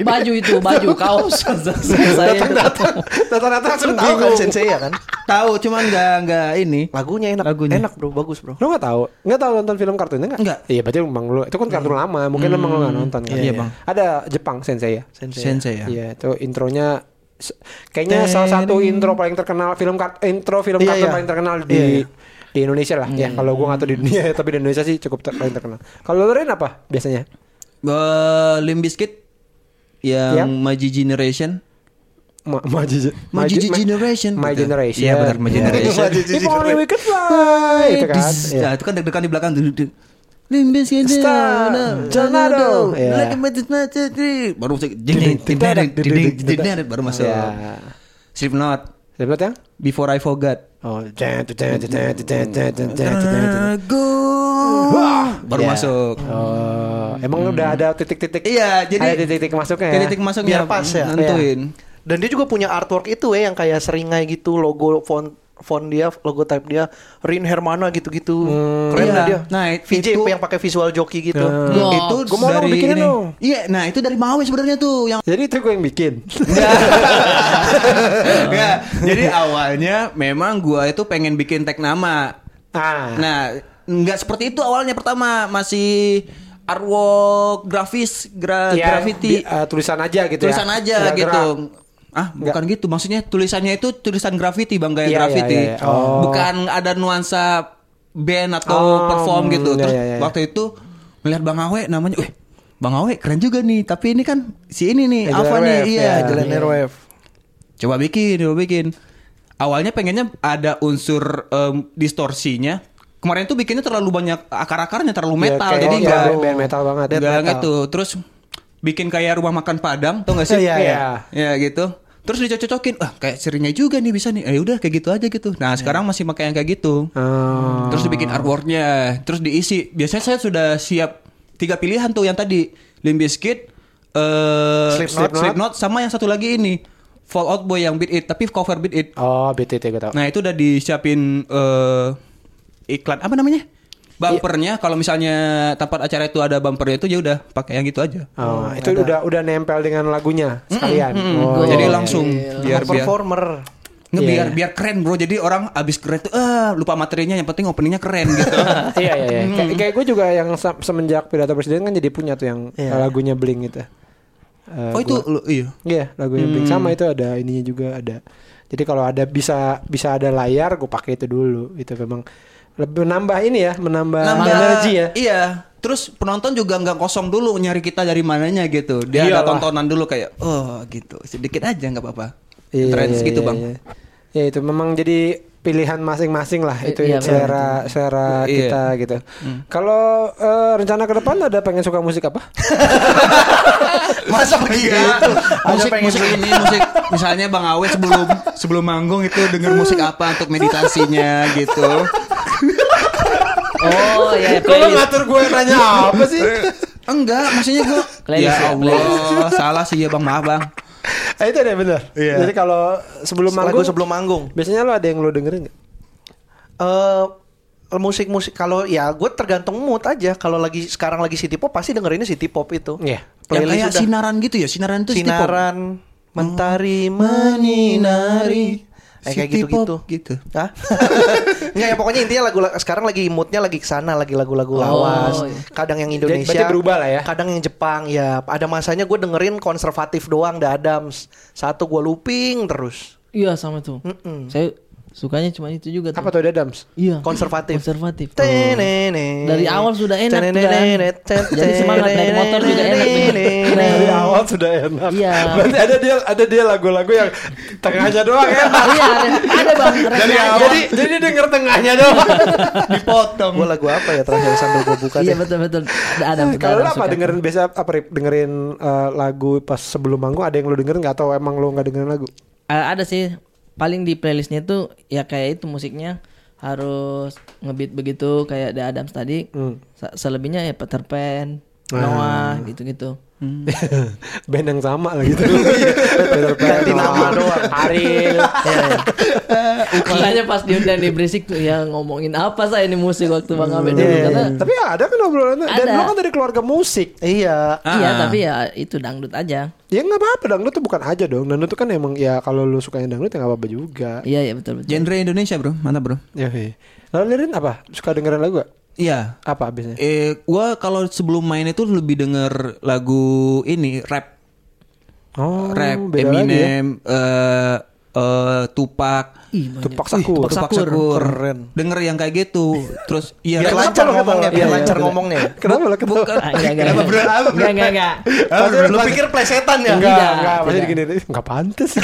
Speaker 4: Baju itu, baju kaos. Saya itu.
Speaker 1: rata-rata
Speaker 5: Lu
Speaker 1: langsung
Speaker 5: tahu kan
Speaker 1: bingung
Speaker 5: Sensei ya kan?
Speaker 2: Tahu cuman nggak nggak ini.
Speaker 5: Lagunya enak,
Speaker 2: Lagunya.
Speaker 5: enak bro, bagus bro.
Speaker 1: Lo gak tau? Gak tau nonton film kartunnya gak?
Speaker 2: Nggak.
Speaker 1: Iya berarti emang lo Itu kan kartun lama Mungkin emang lo gak nonton kan
Speaker 2: Iya, Bang.
Speaker 1: Ada Jepang Sensei ya?
Speaker 2: Sensei ya.
Speaker 1: Iya itu intronya se- Kayaknya salah satu intro paling terkenal Film kart- intro film
Speaker 5: Iya,
Speaker 1: kartun
Speaker 5: iya.
Speaker 1: paling terkenal di
Speaker 5: Iya, iya.
Speaker 1: Di Indonesia lah Ya kalau gue gak tau di dunia ya, Tapi di Indonesia sih cukup ter- paling terkenal Kalau lo Ren apa biasanya?
Speaker 2: Eh, Limp Bizkit yang
Speaker 1: Yang?
Speaker 2: My G Generation.
Speaker 1: Ma, ma, jiji- ma-
Speaker 2: My Jiji
Speaker 1: ma-
Speaker 2: Generation,
Speaker 1: My
Speaker 2: betul.
Speaker 1: Generation
Speaker 2: Iya, benar, My Generation.
Speaker 1: My Jiji If only we could fly Itu kan
Speaker 2: Dis-
Speaker 1: Iya.
Speaker 2: Nah, itu kan deg-degan di belakang. Duduk, duduk. Limp Bizkit.
Speaker 1: Star,
Speaker 2: Tornado.
Speaker 1: Tornado. Iya.
Speaker 2: Like a magic magic tree. Baru musik ding ding ding ding ding ding, ding, ding, baru masuk.
Speaker 1: Iya.
Speaker 2: Sleep Not
Speaker 1: Sebelah yang
Speaker 2: Before I Forgot.
Speaker 1: Oh, jen, jen, jen, jen, jen, jen, jen, jen, jen.
Speaker 2: Go. Baru
Speaker 1: Iya.
Speaker 2: masuk. Hmm.
Speaker 1: Oh, emang udah ada titik-titik.
Speaker 2: Iya,
Speaker 1: ada
Speaker 2: jadi-
Speaker 1: titik-titik masuknya. ya? Iya.
Speaker 2: Titik masuknya
Speaker 5: Biar pas ya.
Speaker 2: Nentuin.
Speaker 5: Dan dia juga punya artwork itu ya yang kayak seringai gitu, logo font font dia, logotype dia, Rin Hermana gitu-gitu. Keren
Speaker 2: Iya.
Speaker 5: lah dia.
Speaker 2: Nah, it-
Speaker 5: VJ
Speaker 2: itu-
Speaker 5: yang pakai visual joki gitu.
Speaker 2: Nah,
Speaker 4: Blok.
Speaker 2: itu
Speaker 1: Gua mau dong
Speaker 2: dari
Speaker 1: bikinin
Speaker 2: ini.
Speaker 1: dong.
Speaker 2: Iya, nah itu dari Maui sebenarnya tuh yang
Speaker 1: Jadi itu gue yang bikin.
Speaker 2: Nggak, Jadi awalnya memang gua itu pengen bikin tag nama.
Speaker 1: Ah.
Speaker 2: Nah, nggak seperti itu awalnya pertama masih artwork grafis gra
Speaker 1: Ya, bi-
Speaker 2: graffiti
Speaker 1: eh, tulisan aja gitu
Speaker 2: tulisan
Speaker 1: ya.
Speaker 2: aja
Speaker 1: Gerak-gerak.
Speaker 2: gitu. Ah, bukan gitu. Maksudnya tulisannya itu tulisan graffiti, Bang, kayak
Speaker 1: Iya, iya,
Speaker 2: graffiti.
Speaker 1: iya, iya. Oh.
Speaker 2: Bukan ada nuansa band atau
Speaker 1: Oh,
Speaker 2: perform
Speaker 1: hmm,
Speaker 2: gitu.
Speaker 1: iya,
Speaker 2: Terus
Speaker 1: iya, iya.
Speaker 2: waktu itu melihat Bang Awe namanya, "Wih, Bang Awe keren juga nih, tapi ini kan si ini nih,
Speaker 1: Angela
Speaker 2: Alpha nih,
Speaker 1: Wave,
Speaker 2: iya,
Speaker 1: Eh, ya.
Speaker 2: Angela
Speaker 5: Jelen Airwave.
Speaker 2: Coba bikin, coba bikin. Awalnya pengennya ada unsur em, distorsinya. Kemarin tuh bikinnya terlalu banyak akar-akarnya, terlalu
Speaker 1: Ya,
Speaker 2: metal.
Speaker 1: kayak-
Speaker 2: jadi
Speaker 1: ya,
Speaker 2: enggak
Speaker 1: band metal banget. Death metal.
Speaker 2: gitu. Terus bikin kayak rumah makan Padang, tau gak sih?
Speaker 1: Iya, iya.
Speaker 2: Ya gitu. Terus dicocok-cocokin, ah kayak seringnya juga nih bisa nih. Ya udah kayak gitu aja gitu. Nah,
Speaker 1: Iya.
Speaker 2: sekarang masih pakai yang kayak gitu.
Speaker 1: Ah.
Speaker 2: Terus dibikin artworknya, terus diisi. Biasanya saya sudah siap tiga pilihan tuh yang tadi Limp Bizkit, eh,
Speaker 1: Slipknot.
Speaker 2: Slipknot, sama yang satu lagi ini Fall Out Boy yang Beat It, tapi cover Beat It.
Speaker 1: Oh, BTT gue tau.
Speaker 2: Nah itu udah disiapin eh, iklan apa namanya?
Speaker 1: Iya.
Speaker 2: Bumpernya kalau misalnya tempat acara itu ada bumpernya itu ya udah pakai yang gitu aja.
Speaker 1: Oh, itu udah udah nempel dengan lagunya sekalian. Oh,
Speaker 2: Jadi
Speaker 1: iya.
Speaker 2: langsung biar
Speaker 5: Sama
Speaker 2: biar
Speaker 5: performer.
Speaker 2: Nggak,
Speaker 1: Iya,
Speaker 2: biar
Speaker 1: iya.
Speaker 2: biar keren bro. Jadi orang abis keren tuh eh lupa materinya yang penting openingnya keren gitu.
Speaker 1: iya iya iya. Kayak- Kayak gue juga yang se- semenjak pidato presiden kan jadi punya tuh yang
Speaker 5: Iya.
Speaker 1: lagunya Blink gitu. Eh,
Speaker 2: oh itu
Speaker 1: gua-
Speaker 2: lu- iya.
Speaker 1: Iya, lagunya Blink sama itu ada ininya juga ada. Jadi kalau ada bisa bisa ada layar gue pakai itu dulu. Itu memang lebih menambah ini ya, menambah,
Speaker 2: nambah
Speaker 1: energi ya.
Speaker 2: Iya. Terus penonton juga nggak kosong dulu nyari kita dari mananya gitu. Dia
Speaker 1: Iyalah.
Speaker 2: ada tontonan dulu kayak oh gitu. Sedikit aja nggak apa-apa.
Speaker 1: Iya,
Speaker 2: Trends
Speaker 1: iya,
Speaker 2: gitu,
Speaker 1: iya,
Speaker 2: Bang.
Speaker 1: iya. Ya itu memang jadi pilihan masing-masing lah
Speaker 4: I-
Speaker 1: itu ya,
Speaker 4: iya,
Speaker 1: selera selera
Speaker 2: Iya.
Speaker 1: kita gitu. Kalau eh, rencana ke depan ada pengen suka musik apa?
Speaker 5: Masa begitu?
Speaker 1: Iya.
Speaker 2: musik, musik ini musik misalnya Bang Awe sebelum sebelum manggung itu denger musik apa untuk meditasinya gitu.
Speaker 4: Oh iya,
Speaker 1: Kalau
Speaker 4: playlist.
Speaker 1: ngatur gue nanya apa sih?
Speaker 2: Enggak, maksudnya gua
Speaker 4: Playlist
Speaker 2: ya
Speaker 4: ya,
Speaker 2: Allah, salah sih ya Bang, maaf Bang.
Speaker 1: Eh, itu deh bener.
Speaker 3: Iya.
Speaker 1: Jadi kalau sebelum
Speaker 5: Lagu
Speaker 1: manggung,
Speaker 5: sebelum manggung.
Speaker 1: biasanya lo ada yang lo dengerin nggak?
Speaker 5: eh musik-musik kalau ya gue tergantung mood aja kalau lagi sekarang lagi city pop pasti dengerinnya city pop itu
Speaker 1: Iya.
Speaker 2: Yang
Speaker 5: Playlist
Speaker 2: kayak
Speaker 5: udah.
Speaker 2: sinaran gitu ya, sinaran itu city pop.
Speaker 5: sinaran mentari menyinari
Speaker 2: menyinari.
Speaker 5: Eh, kayak
Speaker 2: City pop
Speaker 5: gitu-gitu
Speaker 2: gitu.
Speaker 5: Hah? Nggak ya pokoknya intinya lagu sekarang lagi moodnya lagi kesana lagi lagu-lagu lawas
Speaker 4: iya.
Speaker 5: kadang yang Indonesia
Speaker 1: berarti berubah lah ya?
Speaker 5: kadang yang Jepang ya ada masanya gue dengerin konservatif doang The Adams satu gue looping terus
Speaker 4: Iya sama tuh.
Speaker 5: Mm-mm.
Speaker 4: Saya sukanya cuma itu juga tuh.
Speaker 1: Apa tuh ada Dams?
Speaker 4: Iya.
Speaker 5: Konservatif.
Speaker 4: Konservatif.
Speaker 5: Tenene.
Speaker 4: Dari awal sudah enak tuh, kan?
Speaker 5: Tenene, tenene,
Speaker 4: Jadi semangat naik motor juga enak tuh.
Speaker 5: tenene.
Speaker 1: Dari awal sudah enak.
Speaker 4: Iya.
Speaker 1: Berarti ada dia ada dia lagu-lagu yang tengahnya doang ya. enak.
Speaker 4: Iya, ada, ada bang. Dari
Speaker 2: Ah,
Speaker 1: jadi jadi denger tengahnya doang.
Speaker 2: Dipotong.
Speaker 5: Gua lagu apa ya terakhir sambil gue buka
Speaker 4: Iya
Speaker 5: deh.
Speaker 4: betul betul. Ada ada. betul,
Speaker 1: Eh, Kalau
Speaker 4: ada
Speaker 1: lo apa
Speaker 4: suka.
Speaker 1: dengerin biasa apa Rip? dengerin eh, lagu pas sebelum manggung ada yang lo dengerin nggak atau emang lo nggak dengerin lagu?
Speaker 4: Eh, ada sih paling di playlistnya tuh ya kayak itu musiknya harus ngebeat begitu kayak The Adams tadi.
Speaker 1: Hmm.
Speaker 4: Se- Selebihnya ya Peter Pan,
Speaker 1: Ah.
Speaker 4: Noah gitu-gitu.
Speaker 2: Hmm.
Speaker 1: Band yang sama lah gitu. Peter Pan,
Speaker 5: Ganti nama doang.
Speaker 1: Ariel. Eh,
Speaker 4: Makanya pas diundang di berisik tuh ya ngomongin apa saya ini musik waktu Bang Abed dulu
Speaker 1: Iya,
Speaker 4: karena
Speaker 1: Tapi ya ada kan obrolan dan
Speaker 4: Ada.
Speaker 1: lo kan dari keluarga musik.
Speaker 5: Iya.
Speaker 4: Iya,
Speaker 2: Ah.
Speaker 4: tapi ya itu dangdut aja.
Speaker 1: Ya nggak apa-apa dangdut tuh bukan aja dong. Dangdut tuh kan emang ya kalau lo sukanya dangdut ya nggak apa-apa juga.
Speaker 4: Iya, iya betul betul.
Speaker 2: Genre Indonesia, Bro. Mantap, Bro.
Speaker 1: Ya, iya. Lalu Lirin apa? Suka dengerin lagu gak?
Speaker 2: Iya.
Speaker 1: Apa biasanya?
Speaker 2: Eh, gua kalau sebelum main itu lebih denger lagu ini rap,
Speaker 1: Oh,
Speaker 2: rap,
Speaker 1: beda lagi ya.
Speaker 2: Eminem, eh eh, Tupac,
Speaker 4: Ih, banyak.
Speaker 1: Tupak saku.
Speaker 2: Tupac Sakur.
Speaker 5: Keren.
Speaker 2: Denger yang kayak gitu. Terus iya.
Speaker 5: Biar
Speaker 2: Kenapa
Speaker 5: lancar
Speaker 2: lo ketawa?
Speaker 5: ngomongnya, biar
Speaker 2: Iya,
Speaker 5: lancar
Speaker 2: iya.
Speaker 5: ngomongnya.
Speaker 1: Kenapa lo ketawa?
Speaker 2: Bukan.
Speaker 4: Ah, enggak, enggak,
Speaker 2: Kenapa,
Speaker 4: enggak.
Speaker 2: bro?
Speaker 4: Enggak, enggak, enggak.
Speaker 5: Ah, Lu pikir plesetan ya?
Speaker 1: Enggak, gitu.
Speaker 4: Tidak,
Speaker 1: enggak, pasti
Speaker 4: tidak.
Speaker 1: gini Enggak pantas.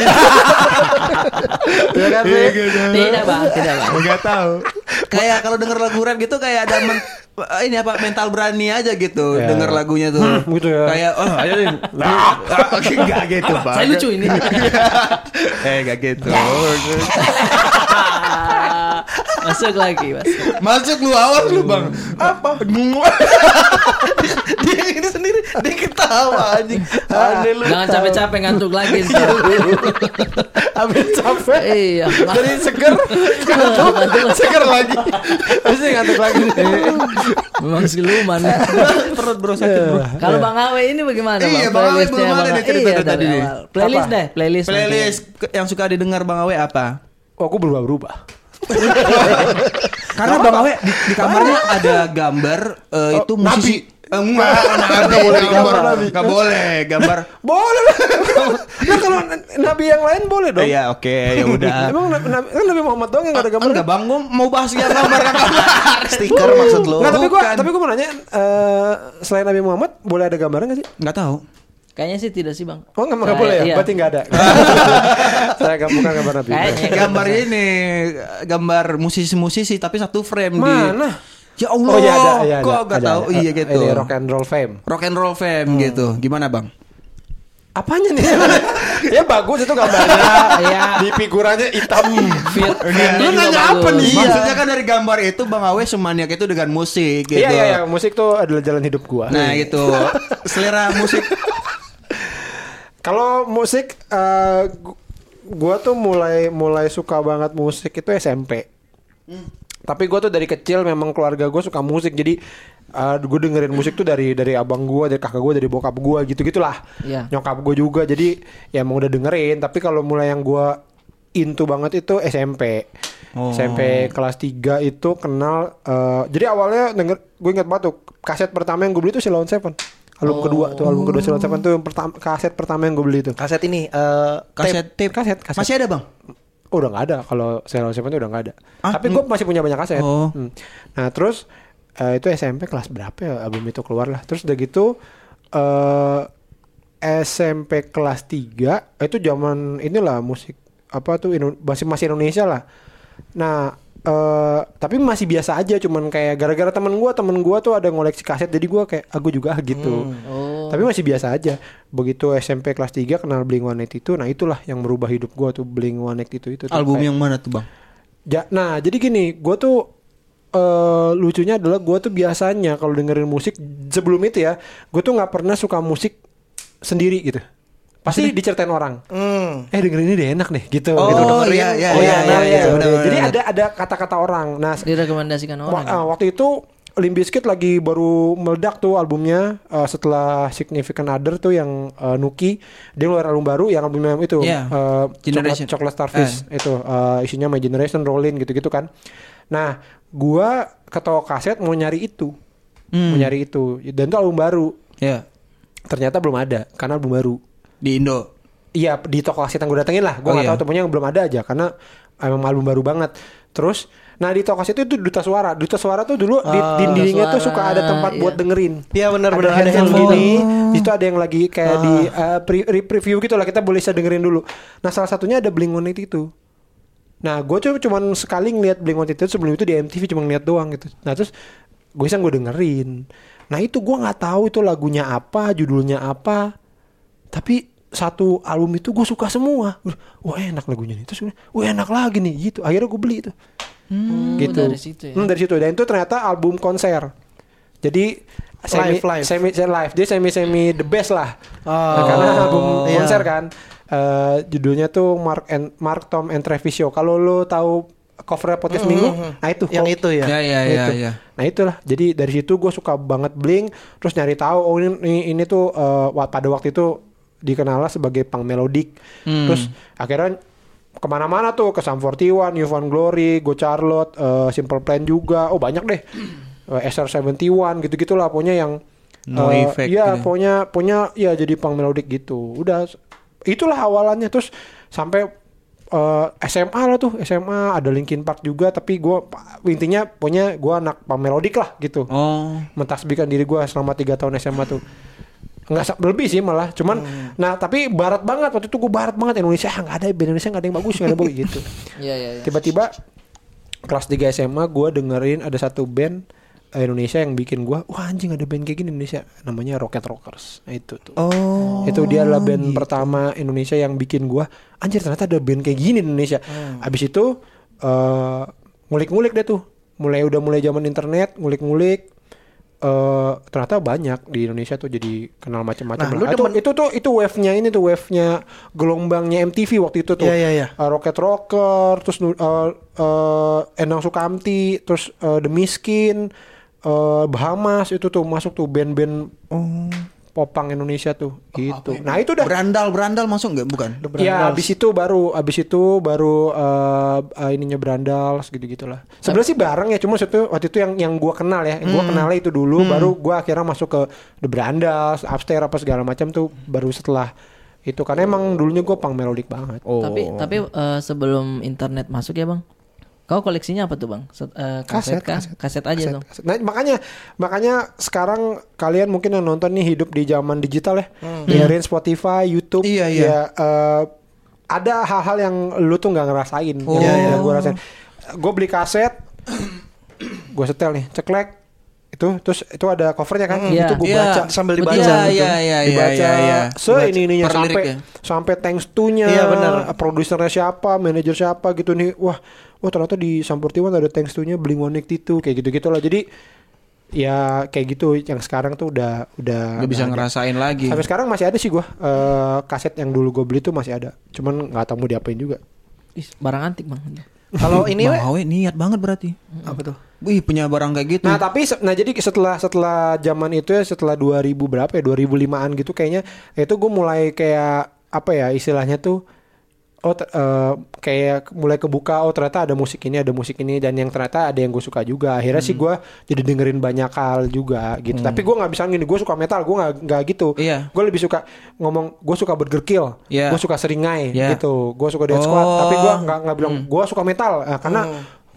Speaker 1: Iya kan? Rin?
Speaker 4: Tidak, Bang, tidak, Bang.
Speaker 3: Enggak tahu.
Speaker 2: Kayak kalau denger lagu rap gitu kayak ada men- eh, ini apa mental berani aja gitu
Speaker 1: Ya.
Speaker 2: denger lagunya tuh.
Speaker 1: Hmm, gitu ya.
Speaker 2: Kayak oh ayo nih.
Speaker 3: Enggak gitu, Bang.
Speaker 4: Saya lucu ini.
Speaker 1: Iya.
Speaker 2: eh gak gitu.
Speaker 4: masuk lagi, masuk.
Speaker 2: Hmm.
Speaker 3: Masuk lu awas lu, Bang. Apa?
Speaker 5: Dia ini sendiri Dia ketawa anjing.
Speaker 2: Ah.
Speaker 5: Aneh lu.
Speaker 4: Jangan capek-capek ngantuk lagi. ntar.
Speaker 1: Habis capek.
Speaker 4: Iya.
Speaker 1: Dari seger ngantuk, seger lagi. Habis ini ngantuk lagi.
Speaker 4: Memang siluman.
Speaker 2: Perut bro sakit bro.
Speaker 4: Kalau Bang Awe ini bagaimana?
Speaker 3: Iya, Bang Awe
Speaker 4: Playlistnya
Speaker 3: belum ada
Speaker 4: Bang-
Speaker 3: nih cerita
Speaker 4: Iya,
Speaker 3: dari
Speaker 4: dari
Speaker 3: tadi.
Speaker 4: awal. Playlist
Speaker 1: Apa?
Speaker 4: deh, playlist. nanti.
Speaker 2: Playlist ke- yang suka didengar Bang Awe apa?
Speaker 1: Oh, aku berubah-berubah.
Speaker 2: Karena Bang Awe di, di kamarnya ada gambar
Speaker 1: Oh,
Speaker 2: eh, itu musisi Eh, Enggak, enggak boleh gambar. Enggak boleh gambar.
Speaker 1: Boleh lah. Nah kalau n- nabi yang lain boleh dong.
Speaker 2: Iya, oke, ya udah. Ah,
Speaker 1: Emang nabi, nabi, kan Nabi Muhammad doang yang gak ada gambar.
Speaker 2: Enggak Bang, gua mau bahas yang gambar kan gambar.
Speaker 5: Stiker maksud lu.
Speaker 1: Nggak, tapi gua
Speaker 2: Bukan.
Speaker 1: tapi gua mau nanya eh, selain Nabi Muhammad boleh ada gambaran gak sih?
Speaker 2: Enggak tahu.
Speaker 4: Kayaknya sih tidak sih, Bang.
Speaker 1: Oh nggak nggak
Speaker 4: Saya-
Speaker 1: boleh ya?
Speaker 4: iya.
Speaker 1: Berarti nggak ada. Saya nggak bukan gambar Nabi.
Speaker 4: Kayaknya.
Speaker 2: Eh, Gambar ini gambar musisi-musisi tapi satu frame
Speaker 1: Mana?
Speaker 2: di Ya Allah.
Speaker 1: Oh iya ada, iya ada.
Speaker 2: Kok enggak
Speaker 1: ada,
Speaker 2: tahu?
Speaker 1: ada.
Speaker 2: Iya
Speaker 1: Eh,
Speaker 2: gitu.
Speaker 1: ini rock and Hmm. roll fame.
Speaker 2: Rock and roll fame gitu. Gimana, Bang?
Speaker 1: Apanya nih? ya bagus itu gambarnya.
Speaker 4: Iya.
Speaker 1: Di figurannya hitam.
Speaker 4: Fit.
Speaker 2: Lu
Speaker 4: Fit
Speaker 1: Iya,
Speaker 4: juga
Speaker 2: nanya apa
Speaker 4: bagus.
Speaker 2: nih? Maksudnya kan dari gambar itu Bang Awe semaniak itu dengan musik gitu.
Speaker 1: Iya iya iya, musik tuh adalah jalan hidup gua.
Speaker 2: Nah gitu Selera musik
Speaker 1: Kalau musik eh, gu- gua tuh mulai mulai suka banget musik itu SMP. Tapi gua tuh dari kecil memang keluarga gue suka musik. Jadi eh, gua dengerin musik tuh dari dari abang gua, dari kakak gua, dari bokap gua gitu-gitulah.
Speaker 4: Iya.
Speaker 1: Nyokap gue juga. Jadi ya emang udah dengerin, tapi kalau mulai yang gua into banget itu SMP. SMP Eh, kelas 3 itu kenal eh, jadi awalnya denger gue ingat banget tuh kaset pertama yang gue beli itu Silon Seven. Album
Speaker 2: Oh.
Speaker 1: kedua tuh album kedua Silon Seven tuh yang pertama kaset pertama yang gue beli itu.
Speaker 5: Kaset ini eh
Speaker 2: Kaset tape
Speaker 1: Kaset, kaset.
Speaker 2: Masih ada bang?
Speaker 1: Oh, udah nggak ada kalau Silon Seven tuh udah nggak ada.
Speaker 2: Ah,
Speaker 1: Tapi gue masih punya banyak kaset.
Speaker 2: Oh.
Speaker 1: Hmm. Nah, terus eh, itu SMP kelas berapa ya album itu keluar lah. Terus udah gitu eh SMP kelas 3 itu zaman inilah musik apa tuh Indo- masih masih Indonesia lah. Nah, eh tapi masih biasa aja cuman kayak gara-gara temen gua, temen gua tuh ada ngoleksi kaset jadi gua kayak aku juga ah, gitu. Tapi masih biasa aja. Begitu SMP kelas 3 kenal Blink-182, nah itulah yang merubah hidup gua tuh Blink-182 itu. tuh
Speaker 2: Album
Speaker 1: kayak-
Speaker 2: yang mana tuh bang?
Speaker 1: Ja- nah, jadi gini, gue tuh eh, lucunya adalah gue tuh biasanya kalau dengerin musik sebelum itu ya, gue tuh nggak pernah suka musik sendiri gitu. Pasti diceritain orang.
Speaker 5: hmm.
Speaker 1: Eh dengerin ini deh enak nih gitu.
Speaker 2: Oh,
Speaker 1: gitu.
Speaker 2: dengerin.
Speaker 1: iya, iya,
Speaker 2: Oh,
Speaker 1: iya,
Speaker 2: iya,
Speaker 1: nah,
Speaker 2: iya,
Speaker 1: gitu.
Speaker 2: benar, benar,
Speaker 1: Jadi
Speaker 2: benar.
Speaker 1: ada ada kata-kata orang. Nah,
Speaker 4: Direkomendasikan orang.
Speaker 1: Wa- ah, waktu itu Limbiskit lagi baru meledak tuh albumnya eh, setelah Significant Other tuh yang eh, Nuki dia ngeluarin album baru yang albumnya itu
Speaker 2: Iya.
Speaker 1: eh,
Speaker 2: Generation.
Speaker 1: Coklat, Coklat Starfish itu eh, isinya My Generation Rolling gitu-gitu kan. Nah, gua ke toko kaset mau nyari itu.
Speaker 2: Hmm.
Speaker 1: Mau nyari itu dan itu album baru.
Speaker 2: Ya
Speaker 1: Ternyata belum ada karena album baru.
Speaker 2: Di Indo
Speaker 1: Iya di toko kaset yang gue datengin lah Gue
Speaker 2: Oh,
Speaker 1: nggak
Speaker 2: iya.
Speaker 1: tahu temunya yang belum ada aja Karena emang album baru banget Terus Nah di toko kaset itu duta suara Duta suara tuh dulu Di di
Speaker 4: Ah, Duta
Speaker 1: dindingnya tuh suka
Speaker 4: Suara,
Speaker 1: ada tempat
Speaker 4: iya.
Speaker 1: buat dengerin
Speaker 5: Iya, benar-benar
Speaker 1: Ada
Speaker 5: ada
Speaker 1: handphone
Speaker 5: handphone. Oh. Ah.
Speaker 1: gini Di situ ada yang lagi kayak di uh, pre- re- preview gitu lah Kita boleh bisa dengerin dulu Nah salah satunya ada Blink One itu Nah gue cuma cuman sekali ngeliat Blink One itu Sebelum itu di MTV cuma ngeliat doang gitu Nah terus Gue iseng gue dengerin Nah itu gue nggak tahu itu lagunya apa Judulnya apa tapi satu album itu gue suka semua wah enak lagunya nih terus gue wah enak lagi nih gitu akhirnya gue beli itu gitu
Speaker 4: dari situ ya.
Speaker 1: Hmm, dari situ dan itu ternyata album konser jadi semi
Speaker 5: Live, live.
Speaker 1: semi semi live dia semi semi the best lah Nah,
Speaker 5: Oh.
Speaker 1: karena album
Speaker 5: Iya.
Speaker 1: konser kan Eh, judulnya tuh Mark and Mark Tom and Travis Show kalau lo tahu covernya podcast minggu nah itu
Speaker 5: Yang
Speaker 1: kok-
Speaker 5: itu ya.
Speaker 2: Ya ya ya
Speaker 1: Gitu.
Speaker 2: ya
Speaker 1: Nah itulah. Jadi dari situ gue suka banget Blink. Terus nyari tahu oh ini ini, ini tuh eh, wa- pada waktu itu dikenal sebagai punk melodik.
Speaker 2: Hmm.
Speaker 1: Terus akhirnya kemana-mana tuh ke Sum 41, New Found Glory, Go Charlotte, eh, Simple Plan juga. Oh banyak deh. Eh, SR71 gitu-gitulah pokoknya yang
Speaker 2: No
Speaker 1: eh,
Speaker 2: Effect
Speaker 1: Iya,
Speaker 2: gitu.
Speaker 1: pokoknya pokoknya ya jadi punk melodik gitu. Udah itulah awalannya terus sampai eh, SMA lah tuh SMA ada Linkin Park juga tapi gue intinya pokoknya gue anak punk melodik lah gitu
Speaker 2: Oh
Speaker 1: mentasbihkan diri gue selama tiga tahun SMA tuh nggak sa- lebih sih malah cuman nah tapi barat banget waktu itu gue barat banget Indonesia ah, nggak ada band Indonesia nggak ada yang bagus nggak ada yang bagus gitu
Speaker 4: Iya, iya, iya.
Speaker 1: tiba-tiba kelas 3 SMA gue dengerin ada satu band eh, Indonesia yang bikin gue wah anjing ada band kayak gini Indonesia namanya Rocket Rockers Nah, itu tuh
Speaker 2: Oh
Speaker 1: itu dia adalah
Speaker 5: gitu.
Speaker 1: band pertama Indonesia yang bikin gua anjir ternyata ada band kayak gini di Indonesia.
Speaker 5: Hmm.
Speaker 1: Abis itu eh, ngulik-ngulik deh tuh. Mulai udah mulai zaman internet, ngulik-ngulik eh, ternyata banyak di Indonesia tuh jadi kenal macam-macam.
Speaker 5: Nah,
Speaker 1: Nah,
Speaker 5: lu
Speaker 1: itu,
Speaker 5: demen-
Speaker 1: itu tuh itu wave-nya ini tuh wave-nya gelombangnya MTV waktu itu tuh.
Speaker 5: Iya, iya, iya.
Speaker 1: Eh, Rocket Rocker, terus nu- eh, eh, Endang Sukamti, terus eh, The Miskin, eh, Bahamas itu tuh masuk tuh band-band popang Indonesia tuh gitu. Nah, itu udah
Speaker 3: Berandal berandal masuk nggak? Bukan.
Speaker 1: Ya abis itu baru abis itu baru eh, eh, ininya berandal gitu gitulah. Sebenarnya sih bareng ya, cuma itu waktu itu yang yang gua kenal ya, yang gua kenalnya itu dulu, baru gua akhirnya masuk ke The berandal, upstairs apa segala macam tuh baru setelah itu karena emang dulunya gua pang melodik banget.
Speaker 4: Tapi tapi eh, sebelum internet masuk ya bang, kau koleksinya apa tuh bang? Set- eh,
Speaker 1: Kaset,
Speaker 4: kaset, kah?
Speaker 1: kaset.
Speaker 4: Kaset, aja dong.
Speaker 1: Nah, makanya makanya sekarang kalian mungkin yang nonton nih hidup di zaman digital ya,
Speaker 2: Hmm.
Speaker 1: dengerin Spotify, YouTube,
Speaker 3: Iya, iya.
Speaker 1: ya, eh, ada hal-hal yang lu tuh nggak ngerasain,
Speaker 2: Oh.
Speaker 1: yang yang gua rasain. Gue beli kaset, gue setel nih, ceklek itu terus itu ada covernya kan,
Speaker 4: Iya.
Speaker 1: itu gue
Speaker 2: Iya.
Speaker 1: baca
Speaker 5: sambil
Speaker 2: Betul.
Speaker 5: dibaca
Speaker 2: Iya,
Speaker 5: gitu.
Speaker 2: iya, iya, iya,
Speaker 1: dibaca
Speaker 2: iya, iya.
Speaker 1: seini ininya
Speaker 2: Per
Speaker 1: sampai
Speaker 2: liriknya.
Speaker 1: sampai thanks to nya
Speaker 5: Iya, benar.
Speaker 1: produsernya siapa manajer siapa gitu nih wah wah ternyata di Sampurtiwan ada thanks to nya Blink One itu kayak gitu gitulah jadi ya kayak gitu yang sekarang tuh udah udah
Speaker 2: Gak bisa
Speaker 1: nggak ada.
Speaker 2: ngerasain lagi.
Speaker 1: sampai sekarang masih ada sih gua eh, kaset yang dulu gue beli tuh masih ada cuman nggak tahu mau diapain juga
Speaker 4: Ih, barang antik bang.
Speaker 5: Kalau ini
Speaker 2: Bang
Speaker 5: we,
Speaker 2: Hawe niat banget berarti.
Speaker 5: apa tuh?
Speaker 2: Wih punya barang kayak gitu.
Speaker 1: Nah tapi se- nah jadi setelah setelah zaman itu ya setelah 2000 berapa ya 2005an gitu kayaknya itu gue mulai kayak apa ya istilahnya tuh oh ter- eh, kayak mulai kebuka oh ternyata ada musik ini ada musik ini dan yang ternyata ada yang gue suka juga akhirnya
Speaker 2: Hmm.
Speaker 1: sih gue jadi dengerin banyak hal juga gitu tapi gue nggak bisa gini gue suka metal gue nggak nggak gitu
Speaker 2: Iya.
Speaker 1: gue lebih suka ngomong gue suka Burger Kill
Speaker 2: Iya.
Speaker 1: gue suka seringai
Speaker 2: Iya.
Speaker 1: gitu gue suka Dead Squad
Speaker 2: Oh. Hmm.
Speaker 1: tapi gue nggak nggak bilang gue suka metal eh, karena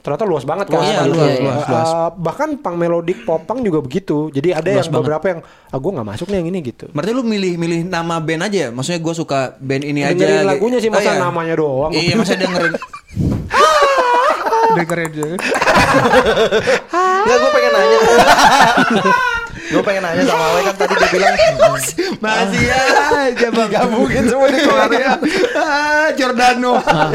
Speaker 1: ternyata luas banget kan
Speaker 2: Luas,
Speaker 1: Iya, iya,
Speaker 2: Oh, luas, luas,
Speaker 1: iya.
Speaker 2: luas.
Speaker 1: Uh, bahkan pang melodik popang juga begitu jadi ada yang beberapa yang ah gue nggak masuk nih yang ini gitu
Speaker 2: Berarti lu milih-milih nama band aja. ya? Maksudnya gue suka band ini aja.
Speaker 1: Dengerin
Speaker 2: gitu.
Speaker 1: lagunya sih, masa
Speaker 2: iya.
Speaker 1: namanya doang?
Speaker 2: Iya masa dengerin.
Speaker 1: dengerin
Speaker 5: Enggak, gue pengen nanya. gue pengen nanya sama Awe kan tadi dia bilang
Speaker 3: Masih ya, aja bang.
Speaker 1: mungkin semua dikeluarin
Speaker 3: Ah, Giordano.
Speaker 2: Ah.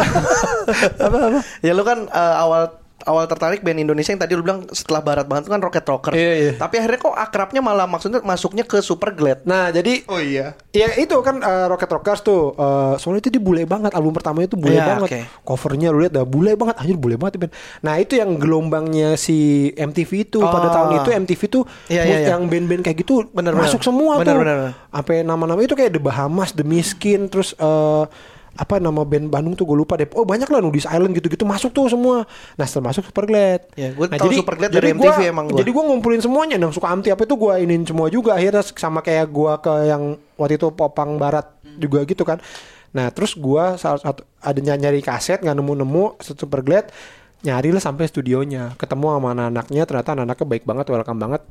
Speaker 5: ya lu kan eh, awal awal tertarik band Indonesia yang tadi lu bilang setelah barat banget itu kan Rocket Rocker.
Speaker 1: Iya, iya.
Speaker 5: Tapi akhirnya kok akrabnya malah maksudnya masuknya ke Super Glad.
Speaker 1: nah jadi
Speaker 3: Oh iya.
Speaker 1: Ya itu kan eh, Rocket Rockers tuh eh, Soalnya itu dia bule banget Album pertamanya itu bule
Speaker 5: Iya,
Speaker 1: banget
Speaker 5: oke.
Speaker 1: Covernya lu lihat dah bule banget Anjir bule banget ya, Ben. Nah itu yang gelombangnya si MTV itu Pada
Speaker 5: Oh.
Speaker 1: tahun itu MTV tuh
Speaker 5: Iya,
Speaker 1: mus-
Speaker 5: iya, iya.
Speaker 1: Yang band-band kayak gitu
Speaker 5: Bener,
Speaker 1: Masuk
Speaker 5: bener.
Speaker 1: semua
Speaker 5: Bener,
Speaker 1: tuh
Speaker 5: bener, bener.
Speaker 1: Sampai nama-nama itu kayak The Bahamas The Miskin Terus eh, apa nama band Bandung tuh gue lupa deh oh banyak lah Nudis Island gitu-gitu masuk tuh semua nah setelah masuk Superglad Nah,
Speaker 5: Iya, gua tahu Superglad dari
Speaker 1: gua-
Speaker 5: MTV emang gua.
Speaker 1: jadi gue ngumpulin semuanya dan suka anti apa itu gue inin semua juga akhirnya sama kayak gue ke yang waktu itu popang barat juga gitu kan nah terus gue salah satu ada ny- nyari kaset nggak nemu nemu super glad nyari lah sampai studionya ketemu sama anak-anaknya ternyata anak-anaknya baik banget welcome banget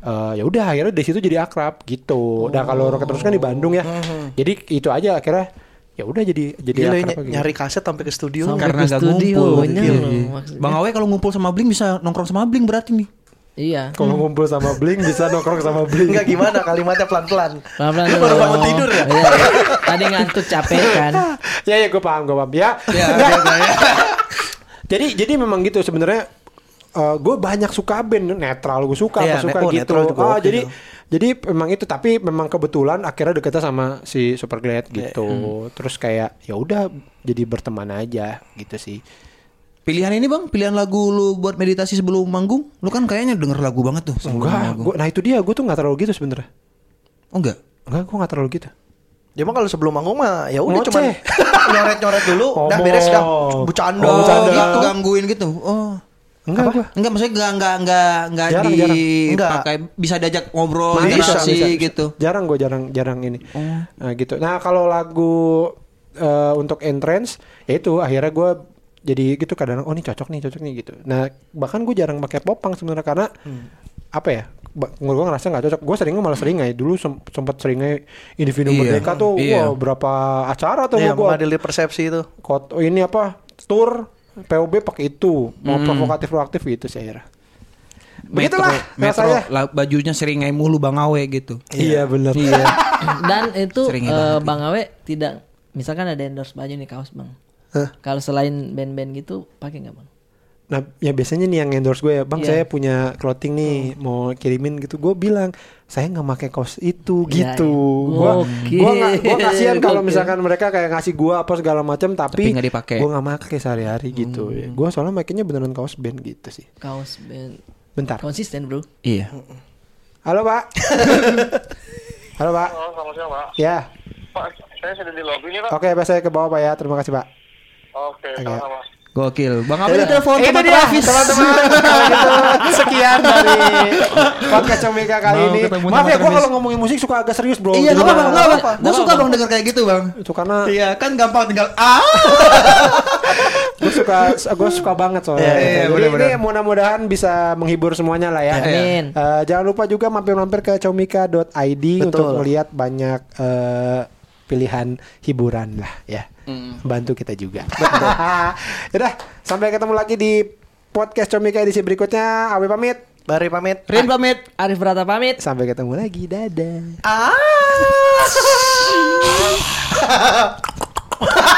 Speaker 1: Eh, ya udah akhirnya dari situ jadi akrab gitu nah kalau
Speaker 5: Oh.
Speaker 1: roket terus kan di Bandung ya
Speaker 5: Hmm.
Speaker 1: jadi itu aja akhirnya ya udah jadi jadi
Speaker 5: Gila ini
Speaker 1: akrab gitu.
Speaker 5: Iya, nyari kaset sampai ke studio.
Speaker 4: Sampai
Speaker 2: Karena
Speaker 4: ke
Speaker 2: gak ngumpul.
Speaker 4: studionya
Speaker 2: Iya,
Speaker 4: loh,
Speaker 2: iya.
Speaker 4: maksudnya.
Speaker 2: Bang Awe kalau ngumpul sama Blink bisa nongkrong sama Blink berarti nih.
Speaker 4: Iya.
Speaker 1: kalau ngumpul sama Blink bisa nongkrong sama Blink
Speaker 5: Enggak gimana kalimatnya pelan-pelan.
Speaker 4: Pelan-pelan
Speaker 5: Lu
Speaker 4: dulu.
Speaker 5: baru bangun tidur ya?
Speaker 4: Iya, iya. Tadi ngantuk capek kan.
Speaker 1: ya ya gue paham gue paham ya, Nggak. jadi jadi memang gitu sebenarnya gue banyak suka band netral gue suka
Speaker 5: Iya,
Speaker 1: apa suka
Speaker 5: net- oh,
Speaker 1: gitu
Speaker 5: netral juga
Speaker 1: Ah,
Speaker 5: oke
Speaker 1: jadi
Speaker 5: dong.
Speaker 1: jadi memang itu tapi memang kebetulan akhirnya deketnya sama si Superglad gitu terus kayak ya udah jadi berteman aja gitu sih
Speaker 2: Pilihan ini bang, pilihan lagu lu buat meditasi sebelum manggung, lu kan kayaknya denger lagu banget tuh. sebelum
Speaker 1: enggak
Speaker 2: manggung.
Speaker 1: gua, nah itu dia gue tuh nggak terlalu gitu sebenarnya
Speaker 2: Oh enggak.
Speaker 1: enggak gue nggak terlalu gitu
Speaker 5: Ya emang kalau sebelum manggung mah ya udah cuman
Speaker 1: Ngoceh.
Speaker 5: nyoret-nyoret dulu, udah
Speaker 1: Ngomong.
Speaker 5: beres dah. Bercanda.
Speaker 1: Oh, bercanda.
Speaker 2: gitu gangguin gitu. Oh.
Speaker 1: enggak gue
Speaker 2: Enggak maksudnya enggak enggak enggak enggak
Speaker 1: Jarang, jarang.
Speaker 2: dipakai bisa diajak ngobrol,
Speaker 5: Bisa,
Speaker 2: interaksi Oh, gitu. Oh.
Speaker 1: Jarang gue jarang jarang ini. Nah, gitu. Nah kalau lagu eh, untuk entrance, ya itu akhirnya gue jadi gitu kadang oh ini cocok nih cocok nih gitu. Nah bahkan gue jarang pakai popang sebenarnya karena
Speaker 2: Hmm.
Speaker 1: apa ya? Gue ngerasa nggak cocok. Gue seringnya malah seringai dulu sem- sempet seringai individu
Speaker 2: Iya.
Speaker 1: merdeka tuh
Speaker 2: Iya.
Speaker 1: wah, berapa acara tuh
Speaker 5: Ya,
Speaker 1: gua-
Speaker 5: mengadili persepsi itu.
Speaker 1: kot oh, ini apa tour POB pakai itu mau provokatif proaktif gitu sih akhirnya. Begitulah
Speaker 2: Hmm. metro,
Speaker 1: rasanya.
Speaker 2: la- bajunya seringai mulu Bang Awe gitu.
Speaker 1: Iya benar.
Speaker 4: Dan itu
Speaker 2: Sering
Speaker 4: eh,
Speaker 2: banget.
Speaker 4: Bang Awe tidak misalkan ada endorse baju nih kaos Bang. Kalau selain band-band gitu pakai nggak Bang?
Speaker 1: nah ya biasanya nih yang endorse gue ya bang
Speaker 4: Iya.
Speaker 1: saya punya clothing nih mau kirimin gitu gue bilang saya nggak pakai kaos itu
Speaker 4: Iya,
Speaker 1: gitu
Speaker 4: iya.
Speaker 1: gue
Speaker 4: Gokil.
Speaker 1: gue nggak gue kasihan kalau
Speaker 4: Gokil.
Speaker 1: misalkan mereka kayak ngasih gue apa segala macam tapi,
Speaker 2: Tapi nggak dipakai.
Speaker 1: gue nggak pakai sehari-hari gitu gue soalnya makainya beneran kaos band gitu sih
Speaker 4: Kaos band
Speaker 1: bentar
Speaker 4: konsisten bro.
Speaker 2: Iya.
Speaker 1: halo pak halo pak
Speaker 6: Halo, selamat siang, Pak.
Speaker 1: ya
Speaker 6: Pak, saya sudah di lobby nih, Pak.
Speaker 1: oke pak saya ke bawah pak ya terima kasih pak
Speaker 6: Oke,
Speaker 1: Oke.
Speaker 6: sama-sama.
Speaker 2: Gokil. Bang Abel telepon
Speaker 1: Eh, Itu
Speaker 2: teman
Speaker 1: dia,
Speaker 2: Travis.
Speaker 1: teman-teman. Kalau gitu, sekian dari podcast Comika kali
Speaker 2: Mau
Speaker 1: ini.
Speaker 2: ketemu
Speaker 1: Maaf
Speaker 2: sama
Speaker 1: ya, gue
Speaker 2: Travis.
Speaker 1: kalau ngomongin musik suka agak serius bro.
Speaker 2: Iya,
Speaker 1: Jadi
Speaker 2: nggak apa-apa,
Speaker 1: gua-
Speaker 2: nggak apa-apa.
Speaker 4: Nggak
Speaker 2: Gue suka
Speaker 4: apa-apa.
Speaker 2: bang denger kayak gitu bang.
Speaker 1: Itu karena
Speaker 3: Iya kan gampang tinggal ah.
Speaker 1: gue suka gue suka banget soalnya.
Speaker 3: Iya, iya,
Speaker 1: Jadi ini
Speaker 3: bener-bener.
Speaker 1: mudah-mudahan bisa menghibur semuanya lah
Speaker 2: Iya,
Speaker 1: ya.
Speaker 4: Amin.
Speaker 1: Eh, jangan lupa juga mampir-mampir ke comika.id untuk melihat banyak eh, pilihan hiburan lah ya. Bantu kita juga. Yaudah, sampai ketemu lagi di podcast Comika edisi berikutnya. Awe pamit.
Speaker 5: Bari pamit.
Speaker 2: Rin pamit.
Speaker 4: Arif Rata pamit.
Speaker 1: Sampai ketemu lagi.
Speaker 2: Ah!
Speaker 1: Dadah.
Speaker 5: Ah.